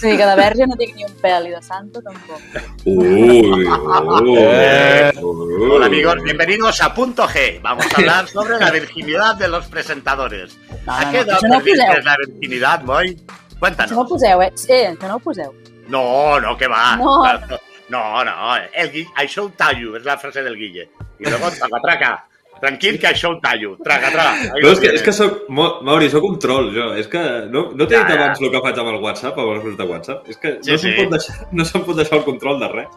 E: Sí, que de verge no tinc ni un pèl i de santa tampoc.
B: Ui, ui,
A: Eh.
B: ui.
C: Hola amigos, bienvenidos a Punto G. Vamos a hablar sobre la virginidad de los presentadores.
E: No,
C: ¿A
E: no,
C: qué
E: no,
C: edad
E: això no ho
C: perdiste
E: poseu.
C: la virginidad, Moy?
E: Això no ho
C: Cuéntanos.
E: poseu, eh? Sí, això no ho poseu.
C: No, no, que va.
E: No.
C: no, no. El Gui- Això ho tallo, es la frase del Guille. Y luego, traca, traca. Tranquil, que això ho tallo. Traca, traca.
B: Però és que, és que soc... Mo- Mauri, sóc un troll, jo. És que no, no t'he
C: Ja,
B: dit
C: ja.
B: abans el que faig amb el WhatsApp, amb els grups de WhatsApp. És que
C: Sí,
B: no se'n
C: sí.
B: pot deixar, no se'n pot deixar el control de res.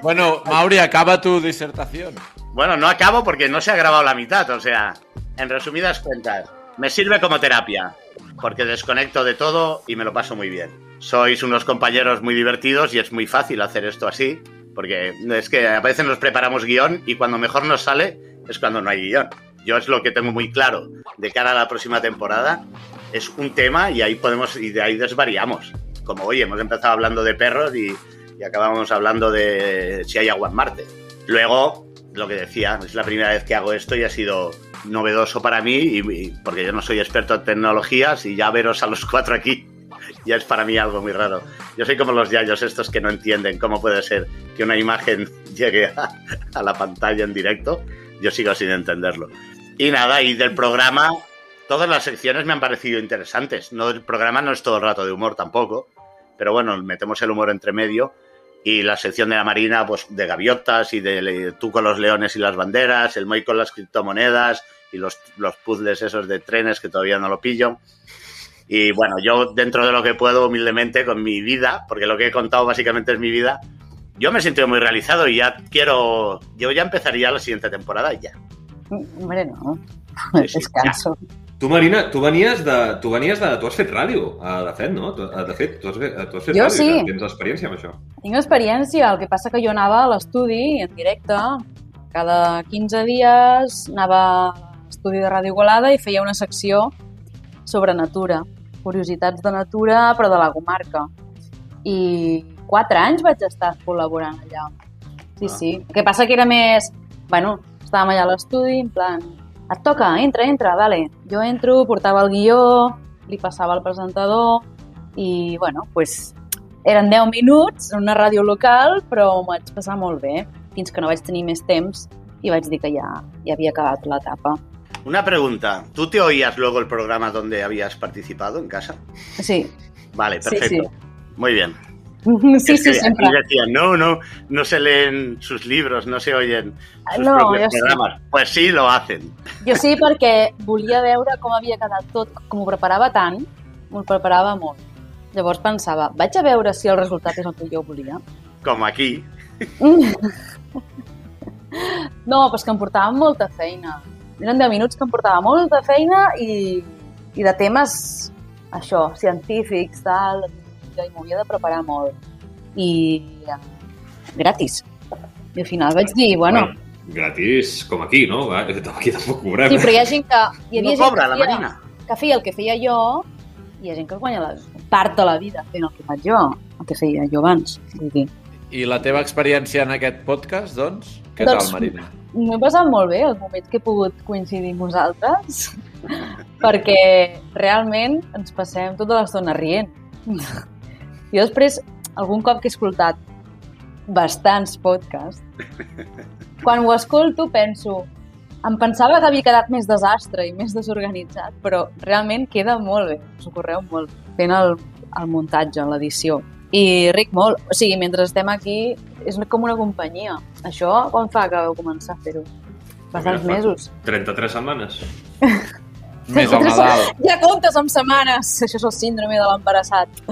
A: Bueno, Mauri, acaba tu disertación.
C: Bueno, no acabo porque no se ha grabado la mitad, o sea, en resumidas cuentas, me sirve como terapia, porque desconecto de todo y me lo paso muy bien. Sois unos compañeros muy divertidos y es muy fácil hacer esto así, porque es que a veces nos preparamos guión y cuando mejor nos sale es cuando no hay guión. Yo es lo que tengo muy claro de cara a la próxima temporada, es un tema y ahí podemos, y de ahí desvariamos. Como oye, hemos empezado hablando de perros y, y acabamos hablando de si hay agua en Marte. Luego, lo que decía, es la primera vez que hago esto y ha sido novedoso para mí, y, y- porque yo no soy experto en tecnologías y ya veros a los cuatro aquí ya es para mí algo muy raro. Yo soy como los yayos estos que no entienden cómo puede ser que una imagen llegue a, a la pantalla en directo. Yo sigo sin entenderlo. Y nada, y del programa, todas las secciones me han parecido interesantes. No, el programa no es todo el rato de humor tampoco, pero bueno, metemos el humor entre medio. Y la sección de la Marina, pues de gaviotas y de le- tú con los leones y las banderas, el Moy con las criptomonedas y los, los puzzles esos de trenes que todavía no lo pillo. Y bueno, yo dentro de lo que puedo humildemente con mi vida, porque lo que he contado básicamente es mi vida, yo me he sentido muy realizado y ya quiero, yo ya empezaría la siguiente temporada ya.
E: Hombre, no.
C: Sí, sí.
E: Descanso.
B: Tu, Marina, tu venies de... Tu, venies de, tu has fet ràdio, eh, de fet, no? Tu, eh, de fet, tu has, fe- tu has fet
E: Jo
B: ràdio,
E: sí.
B: ja tens experiència amb això.
E: Tinc experiència, el que passa que jo anava a l'estudi en directe. Cada 15 dies anava a l'estudi de Ràdio Igualada i feia una secció sobre natura. Curiositats de natura, però de la comarca. I quatre anys vaig estar col·laborant allà. Sí,
B: Ah.
E: sí. El que passa que era més... Bueno, estàvem allà a l'estudi, en plan... Et toca, entra, entra, vale. Jo entro, portava el guió, li passava el presentador i, bueno, pues, eren 10 minuts en una ràdio local, però m'ho vaig passar molt bé, fins que no vaig tenir més temps i vaig dir que ja, ja havia acabat l'etapa.
C: Una pregunta, ¿tú te oías luego el programa donde habías participado en casa?
E: Sí,
C: Vale,
E: Sí,
C: perfecto. Muy bien.
E: sí,
C: Es que
E: sí, sempre.
C: aquí decían, no, no, no se leen sus libros, no se oyen sus
E: No,
C: propios
E: yo sí.
C: programas. Pues sí, lo hacen.
E: Jo sí, perquè volia veure com havia quedat tot, com ho preparava tant, m'ho preparava molt. Llavors pensava, vaig a veure si el resultat és el que jo volia.
C: Como aquí,
E: Mm. No, però és que em portava molta feina. Eren 10 minuts que em portava molta feina i, i de temes, això, científics, tal, i m'ho havia de preparar molt. I eh, gratis. I al final vaig dir, bueno...
B: gratis, com aquí, no? Va, aquí tampoc cobrem. eh?
E: Sí, però hi ha gent que... Hi havia
C: no
E: gent
C: cobra
E: que
C: la
E: feia-
C: Marina.
E: que feia el que feia jo i hi ha gent que es guanya la, part de la vida fent el que faig jo, el que feia jo abans. Vull dir,
A: I la teva experiència en aquest podcast, doncs? Què
E: Doncs-
A: tal, Marina?
E: M'ho he passat molt bé els moments que he pogut coincidir amb vosaltres perquè realment ens passem tota l'estona rient. Jo després, algun cop que he escoltat bastants podcasts, quan ho escolto penso em pensava que havia quedat més desastre i més desorganitzat, però realment queda molt bé, us ho correu molt bé, fent el, el muntatge, l'edició. I ric molt, o sigui, mentre estem aquí és com una companyia. Això quan fa que vau començar a fer-ho? Bastants
B: Mira, fa-
E: mesos.
B: 33 setmanes.
A: Més al Nadal.
E: Ja comptes amb setmanes. Això és el síndrome de l'embarassat.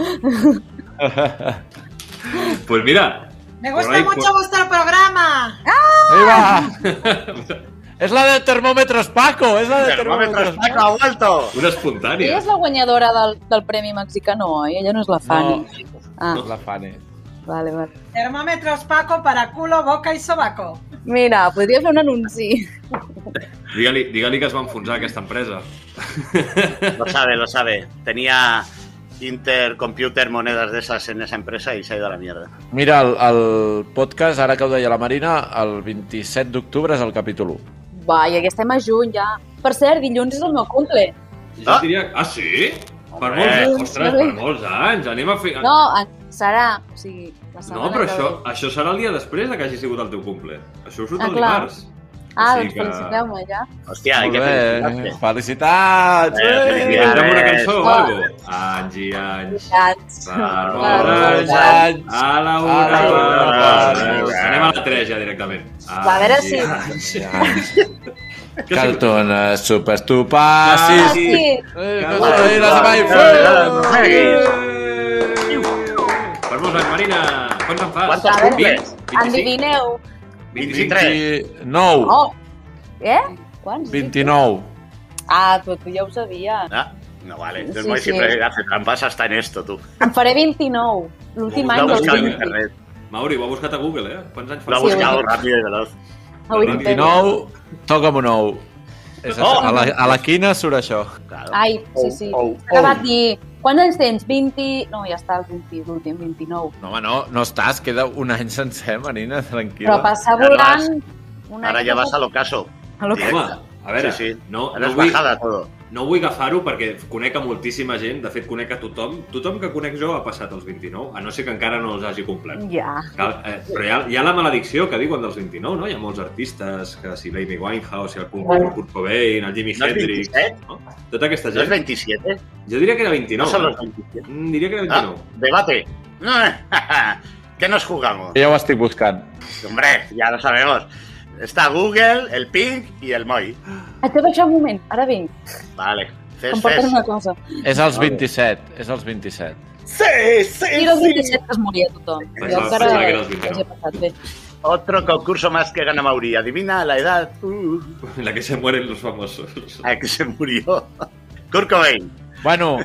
B: Doncs pues mira,
I: Me
B: Por
I: gusta
B: ahí,
I: mucho
B: por-
I: vuestro programa.
A: Ahí va! és la de termòmetres Paco! És la de termòmetres
C: Termómetros,
A: Paco!
C: Paco, ha vuelto.
B: una
E: Ella
B: espontània.
E: és la guanyadora del, del Premi Mexicano, oi? Ella no és la Fanny. Ah,
A: La Fanny.
E: vale, vale.
I: Termómetros Paco para culo, boca y sobaco.
E: Mira, podria fer un anunci.
B: Digue-li digue que es va enfonsar aquesta empresa.
C: Lo sabe, lo sabe. Tenía intercomputer monedas de esas en esa empresa y se ha ido a la mierda.
A: Mira, el, el podcast, ara que ho deia la Marina, el 27 d'octubre és el capítol 1.
E: Vaja, que estem a juny ja. Per cert, dilluns és el meu cumple.
B: Jo
C: Ah.
B: diria... Ah, sí? Per
C: Home.
B: molts anys, ostres,
E: Home.
B: per molts anys. Anem a fer...
E: No, en- serà, o sigui, la setmana
B: no però
E: que
B: això,
E: ve.
B: això serà el dia després de que hagi sigut el teu cumple. Això surt
E: Ah,
B: el
E: clar.
B: dimarts.
E: Ah,
B: O sigui
E: doncs feliciteu-me ja.
C: Hostia, hay que
A: bé.
C: felicitarte.
A: Felicitats!
C: Eh,
A: Eh,
C: felicitats.
B: Cantem una cançó o
E: Ah.
B: algo? Anys i anys.
E: Gràcies.
B: Per
E: Molts
B: molts anys.
A: anys.
B: A la una.
A: A la
C: una.
B: per molts. Anem a la 3 ja directament.
E: Va, a veure
B: Anys i
E: si-
B: anys. Que sí,
A: Caltona, superestupassis.
B: Sí.
E: Ah, Sí.
A: Eh,
B: Caltona,
A: caltona, i les mai
C: superestupassis.
A: fer.
B: Eh! Per molts anys, Marina. Quants en fas?
C: Quantes
E: A veure,
C: cumples?
B: 25?
E: Endivineu.
B: 23.
A: 29.
E: Oh. Eh? Quants?
A: 29.
E: Ah, però tu ja ho sabies.
C: Ah, no vale. Entonces,
E: Sí,
C: Moy
E: sí.
C: siempre hace trampas hasta en esto, tú.
E: Em faré 29. L'últim
B: Ho
E: any
C: Lo
B: Mando,
C: ha
E: del
C: buscado en
B: sí.
E: 20.
C: internet.
B: Mauri, ho ha buscat a Google, eh? Quants anys
C: Lo ha
B: fas?
E: Sí, ho he
C: buscado rápido y veloz.
E: Avui
B: Vint i
E: em pego.
A: 29, toca'm un ou. És a, a, la, a la quina surt això?
C: Claro.
E: Ai, sí, sí.
C: Ou, ou,
E: Que va
C: ou.
E: dir, quants anys tens? 20... No, ja està, el 20, l'últim, 29.
A: No, home, no, no estàs, queda un any sencer, Marina, tranquil·la.
E: Però passa
C: Ja
E: volant... Un
C: Ahora ya
E: any que
C: vas
E: no-
C: al ocaso.
E: a lo que...
B: Home, a veure,
C: Sí, sí.
B: no,
C: Ahora
B: no
C: es
B: vull,
C: bajada todo.
B: no vull agafar-ho perquè conec a moltíssima gent, de fet conec a tothom. Tothom que conec jo ha passat els 29, a no ser que encara no els hagi complert.
E: Ja.
B: Cal, eh, però hi ha, hi ha la maledicció que diuen dels 29, no? Hi ha molts artistes, que si l'Amy Winehouse, si el Kurt,
E: Bueno.
B: Kurt Cobain, el Jimi
C: No es
B: Hendrix...
C: 27,
B: Tota aquesta
C: ¿eh? no es
B: gent.
C: 27.
B: Jo diria que era
C: No,
B: 29.
C: son los
B: eh?
C: 27.
B: Mm, Diria que era
C: Ah,
B: 29.
C: debate. Eh. ¿Qué nos jugamos?
A: Ja ho estic buscant.
C: Hombre, ya lo sabemos. Está Google, el Pink y el Moi.
E: Et deu deixar un moment, ara vinc,
C: Vale.
E: que
C: Fes,
E: em portes
C: fes.
E: una cosa.
A: És als 27, és als 27.
C: Sí, sí,
E: I el
C: sí.
E: 27 que es moria tothom.
B: Pensava-
E: Jo encara
B: pensava que era el 29.
E: els he passat bé.
C: Otro concurso más que gana Mauri. Adivina la edad. Uh,
B: En la que se mueren los famosos.
C: a que se murió. Kurt Cobain.
A: Bueno,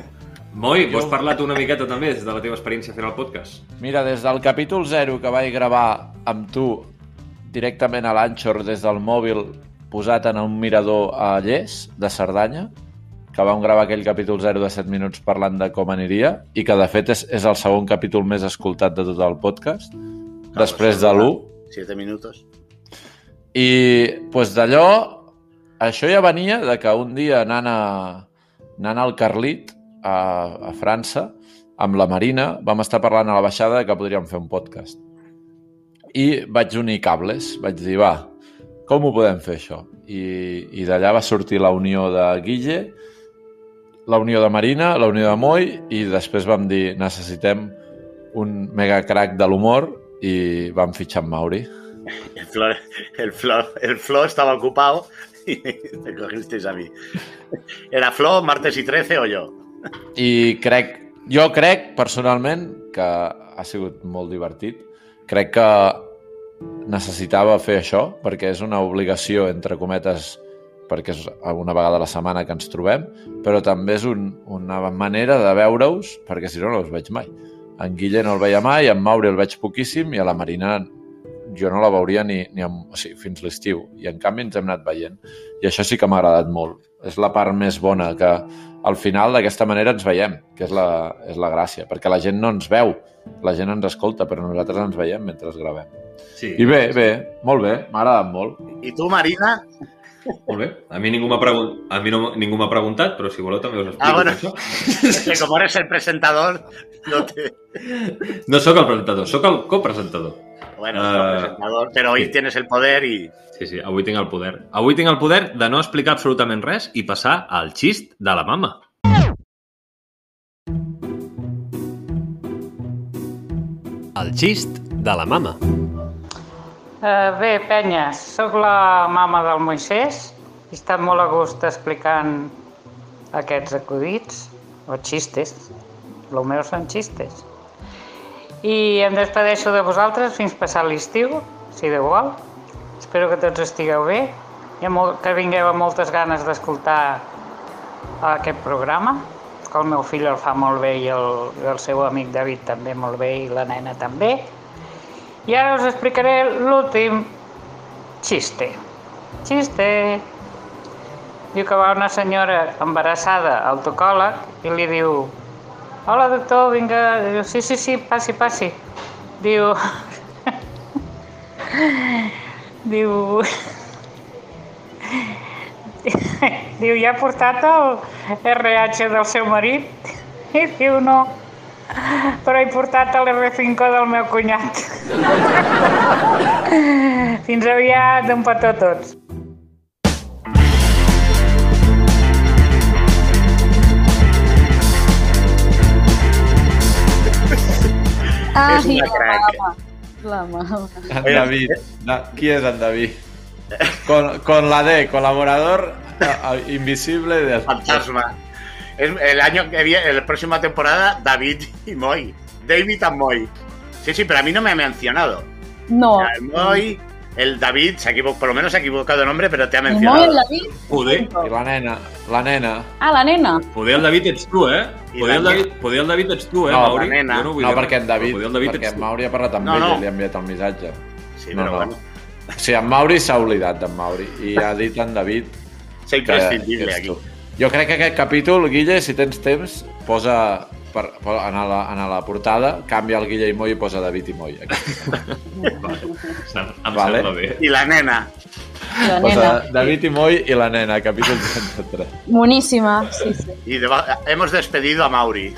B: Moi,
A: Jo-
B: vols parlar tu una miqueta també des de la teva experiència fent el podcast?
A: mira, des del capítol 0 que vaig gravar amb tu directament a l'Anxor des del mòbil posat en un mirador a Lles, de Cerdanya, que vam gravar aquell capítol 0 de 7 minuts parlant de com aniria i que, de fet, és, és el segon capítol més escoltat de tot el podcast, després de l'1.
C: Siete minutos.
A: I pues, d'allò, això ja venia de que un dia anant, a, anant al Carlit, a, a França, amb la Marina, vam estar parlant a la baixada que podríem fer un podcast. I vaig unir cables, vaig dir, va, com ho podem fer això? I, i d'allà va sortir la unió de Guille, la unió de Marina, la unió de Moi, i després vam dir, necessitem un mega crack de l'humor i vam fitxar en Mauri.
C: El Flor, el Flor, el Flor estaba ocupado y me cogisteis a mí. Era Flo, martes y 13 o yo.
A: I crec, jo crec personalment que ha sigut molt divertit. Crec que necessitava fer això perquè és una obligació, entre cometes, perquè és una vegada a la setmana que ens trobem, però també és un, una manera de veure-us perquè si no no els veig mai. En Guille no el veia mai, en Mauri el veig poquíssim i a la Marina jo no la veuria ni, ni amb, o sigui, fins l'estiu. I en canvi ens hem anat veient. I això sí que m'ha agradat molt. És la part més bona que, al final d'aquesta manera ens veiem, que és la, és la gràcia, perquè la gent no ens veu, la gent ens escolta, però nosaltres ens veiem mentre es gravem.
B: Sí.
A: I bé, bé, molt bé, m'ha agradat molt.
C: ¿Y tú, Marina?
B: Molt bé. A mi ningú m'ha pregun... a mi no, ningú m'ha preguntat, pero si voleu també us explico
C: Ah, bueno.
B: això.
C: Es que como eres el presentador, no te...
B: No sóc el presentador, sóc el copresentador.
C: Bueno,
B: Ah.
C: no presentador, pero hoy tienes el poder y...
B: Sí, sí, avui tinc el poder. Avui tinc el poder de no explicar absolutament res i passar al xist de la mama.
G: El xist de la mama.
J: Eh, bé, penyes, sóc la mama del Moisès i he estat molt a gust explicant aquests acudits, o xistes, el meu són xistes. I em despedeixo de vosaltres fins passar l'estiu, si Déu vol. Espero que tots estigueu bé i amb molt, que vingueu amb moltes ganes d'escoltar aquest programa, que el meu fill el fa molt bé i el, i el seu amic David també molt bé i la nena també. I ara us explicaré l'últim xiste. Xiste. Diu que va una senyora embarassada al tocòleg i li diu Hola, doctor, vinga... Diu, sí, sí, sí, passi, passi. Diu... diu... diu, ja ha portat el RH del seu marit? I diu, no, però he portat l'R5 del meu cunyat. Fins aviat, un petó a tots.
E: Ai,
C: És una
E: la
C: crac.
E: mama. La mama.
A: En David, da, qui és en David? Con, con la D, col·laborador eh, invisible de...
B: Ah,
C: Fantasma. Es el año que viene, la próxima temporada, David y Moy. David and Moy. Sí, sí, pero a mí no me ha mencionado.
E: No.
C: El Moy, el David, se ha equivo- por lo menos se ha equivocado de nombre, pero te ha
E: Ni molt,
C: mencionado.
E: la David.
B: Poder,
A: I la nena, la nena.
E: Ah, la nena.
B: poder el David ets tu, eh?
C: I
B: Poder el
C: la
B: David, poder el David ets tu, eh,
A: No, la
B: Mauri?
C: nena.
B: Jo vull
A: No,
B: dir-
A: perquè en David,
B: Poder el David
A: perquè
B: ets
A: en
B: tu.
A: Mauri ha parlat amb
C: No,
A: ell
C: no.
A: i li ha enviat el missatge.
C: Sí,
A: No,
C: pero
A: no.
C: bueno.
A: O sigui, en Mauri s'ha oblidat d'en Mauri i ha dit en David
C: ser imprescindible aquí.
A: Jo crec que aquest capítol, Guille, si tens temps, posa per, per, en, la, en la portada, canvia el Guille i Moll i posa David i Moll.
B: Em
A: Vale.
B: sembla bé.
C: I la nena.
E: La
A: Posa
E: nena.
A: David i Moll i la nena, capítol 33.
E: Moníssima, sí, sí.
C: Y deba- hemos despedido a Mauri.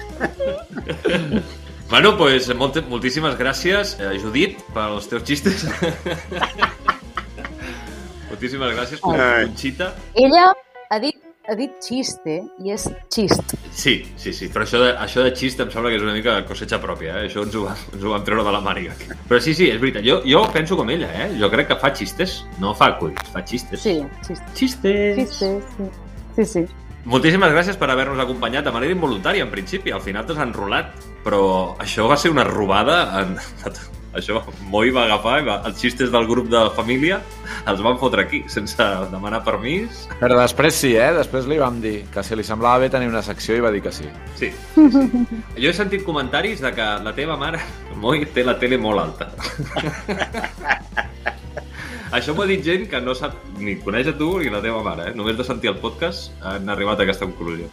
B: Bueno, pues molt, moltíssimes gràcies, eh, Judit, pels teus xistes. moltíssimes gràcies, Con-
C: Ai.
B: Conxita.
E: Ella ha dit, ha dit xiste i és xist.
B: Sí, sí, sí, però això de, això de xist em sembla que és una mica cosecha pròpia, eh? això ens ho, va, ens ho vam treure de la màniga. Però sí, sí, és veritat, jo, jo penso com ella, eh? jo crec que fa xistes, no fa culs, fa xistes.
E: Sí, xiste.
B: Xistes.
E: Xiste, sí. Sí, sí.
B: Moltíssimes gràcies per haver-nos acompanyat de manera involuntària, en principi. Al final t'has enrolat, però això va ser una robada. En... Això, Moi va agafar i va... els xistes del grup de família, els van fotre aquí, sense demanar permís.
A: Però després sí, eh? Després li vam dir que si li semblava bé tenir una secció i va dir que sí.
B: Sí. Jo he sentit comentaris de que la teva mare, Moi, té la tele molt alta. Això m'ho ha dit gent que no sap ni coneix a tu ni la teva mare, eh? Només de sentir el podcast han arribat a aquesta conclusió.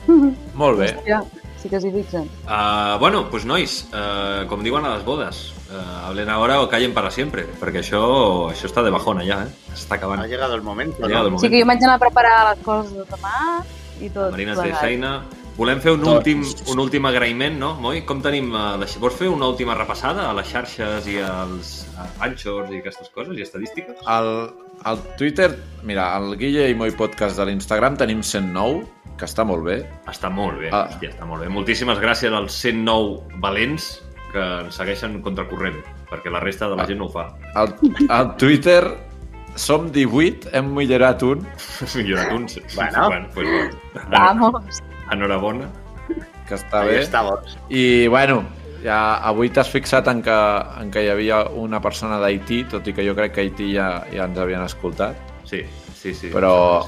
A: Molt bé.
E: Hòstia, sí que s'hi fixen.
B: Uh, bueno, pues nois, uh, com diuen a les bodes, uh, hablen ahora o callen para siempre, perquè això, això està de bajona ja, eh? S'està acabant.
C: Ha llegado el momento.
B: Ha llegado el
C: ¿no?
B: moment.
E: Sí que jo vaig anar a preparar les coses de demà i tot.
B: Marina es té
E: plegat.
B: feina. Volem fer un
A: Tot.
B: últim, un últim agraïment, no, Moi? Com tenim... Uh, la... Vols fer una última repassada a les xarxes i als uh, anchors i aquestes coses i estadístiques?
A: El, el Twitter, mira, el Guille i Moi Podcast de l'Instagram tenim 109, que està molt bé.
B: Està molt bé,
A: Ah.
B: hòstia, està molt bé. Moltíssimes gràcies als 109 valents que ens segueixen contracorrent, perquè la resta de la
A: Ah.
B: gent no ho fa.
A: El, el Twitter som 18, hem millorat un,
B: Millorat uns.
C: Bueno.
B: bueno, pues, bueno.
E: Vamos.
B: Enhorabona.
A: que està
C: Ahí
B: ¿eh?
A: bé.
C: estamos.
A: I, bueno, ja avui t'has fixat en que, en que hi havia una persona d'Haití, tot i que jo crec que a Haití ja, ja ens havien escoltat.
B: Sí, sí, sí.
A: però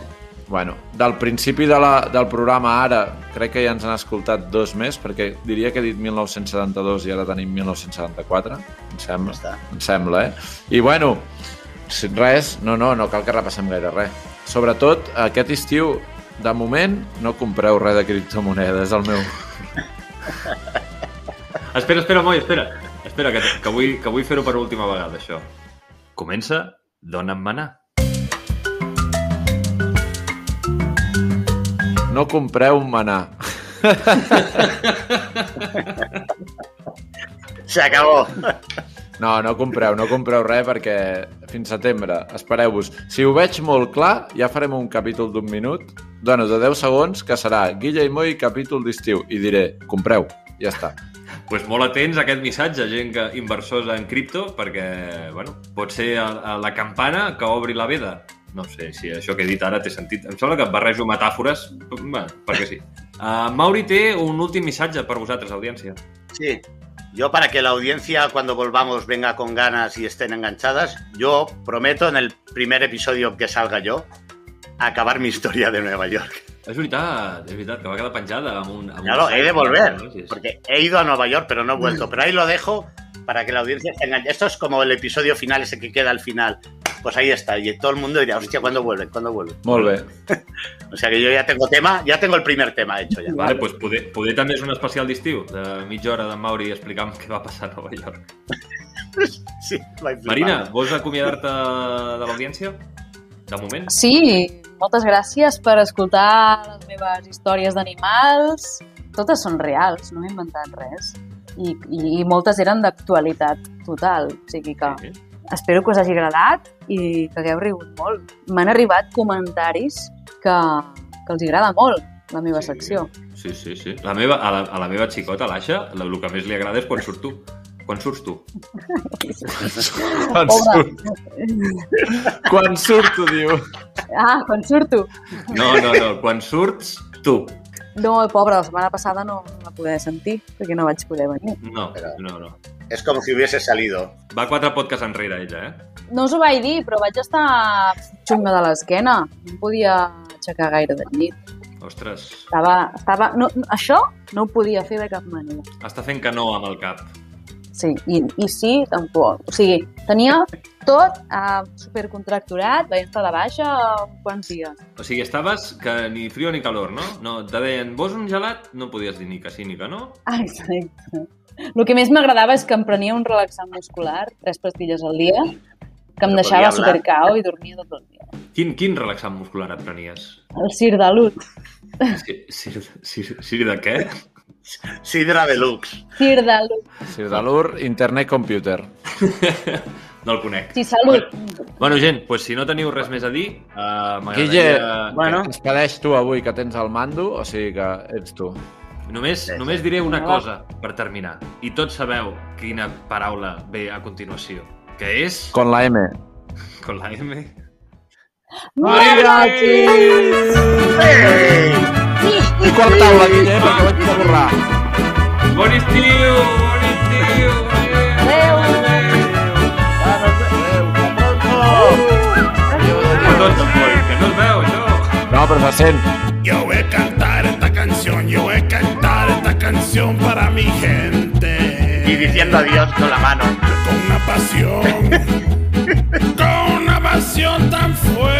A: bueno, del principi de la, del programa ara crec que ja ens han escoltat dos més perquè diria que he dit 1972 i ara tenim 1974 em
C: Ya
A: sembla,
C: está.
A: em sembla eh? i bueno, si- res no, no, no cal que repassem gaire res sobretot aquest estiu de moment no compreu res de criptomonedes el meu
B: Espera, espera, Moi, espera. Espera, que, que vull, que vull fer-ho per última vegada, això. Comença Dona'm manar.
A: no compreu manar
C: Se acabó.
A: No, no compreu, no compreu res perquè fins setembre, espereu-vos. Si ho veig molt clar, ja farem un capítol d'un minut, dono de 10 segons, que serà Guilla i Moi, capítol d'estiu, i diré, compreu, ja està.
B: pues molt atents a aquest missatge, gent que inversors en cripto, perquè, bueno, pot ser a, a la campana que obri la veda. No sé si això que he dit ara té sentit. Em sembla que barrejo metàfores, bé, perquè sí. Uh, Mauri té un últim missatge per vosaltres, audiència.
C: Sí. Yo para que la audiencia cuando volvamos venga con ganas y estén enganchadas, yo prometo en el primer episodio que salga yo acabar mi historia de Nueva York.
B: És veritat, és veritat, que va quedar penjada amb un... Amb
C: Claro,
B: un
C: he de
B: Sí,
C: volver,
B: sí.
C: porque he ido a Nueva York pero no he vuelto. Pero ahí lo dejo para que la audiencia esté enganchada. Esto es como el episodio final, ese que queda al final. Pues ahí está, y todo el mundo dirá, hostia, ¿cuándo vuelven? ¿Cuándo vuelven?
A: Molt bé.
C: O sea que yo ya tengo tema, ya tengo el primer tema hecho ya.
B: Vale, doncs poder, poder també és un especial d'estiu, de mitja hora d'en Mauri explicant què va passar a Nova York.
C: Sí, va inflamar.
B: Marina, vols acomiadar-te de l'audiència? De moment?
E: Sí, moltes gràcies per escoltar les meves històries d'animals. Totes són reals, no m'he inventat res. I, i, i moltes eren d'actualitat total. O sigui que
B: Sí.
E: espero que us hagi agradat i que hagueu rigut molt. M'han arribat comentaris que, que els agrada molt la meva
B: Sí.
E: secció.
B: Sí, sí, sí. La meva, a, la, a la meva xicota, l'Aixa, el que més li agrada és quan surts tu. Quan surts tu.
A: Quan, surt, quan surto, diu.
E: Ah, quan surto.
B: No, no, no. Quan surts tu.
E: No, pobra, la setmana passada no la poder sentir perquè no vaig poder venir.
B: No, no, no.
C: Es como si hubiese salido.
B: Va quatre podcasts enrere, ella, eh?
E: No us ho vaig dir, però vaig estar xunga de l'esquena. No em podia aixecar gaire del llit.
B: Ostres,
E: Estava, estava... No, no- això no ho podia fer de cap manera.
B: està fent que no amb el cap.
E: Sí, i, i sí, tampoc. O sigui, tenia tot eh, supercontracturat, veient estar de baixa eh, quants dies.
B: O sigui, estaves que ni frio ni calor, no? no te deien, vols un gelat? No podies dir ni que sí ni que no.
E: Ah, Exacte. El que més m'agradava és que em prenia un relaxant muscular, tres pastilles al dia, que em
B: Però
E: deixava
B: podia hablar.
E: supercao i dormia tot el dia.
B: Quin, quin relaxant muscular et prenies?
E: El Sir Dalut.
B: Sí, sí, sí, sí de què?
C: Sidra Deluxe.
E: Sir Dalut.
A: Sir Dalur, Internet Computer.
B: No el conec.
E: Sí, salut.
B: Bueno, gent, pues, si no teniu res més a dir, uh,
A: Guille,
B: m'agradaria...
A: bueno. ens quedeix tu avui, que tens el mando, o sigui que ets tu.
B: Només, només diré una cosa per terminar. I tots sabeu quina paraula ve a continuació, que és...
A: Con la M.
B: Con la M.
A: I qual taula, Guille, perquè ho haig de borrar.
B: Bon estiu!
A: No, però se sent.
H: Yo voy a cantar esta canción, yo voy a cantar esta canción para mi gente. Y diciendo adiós con la mano. Con una pasión, con una pasión tan fuerte.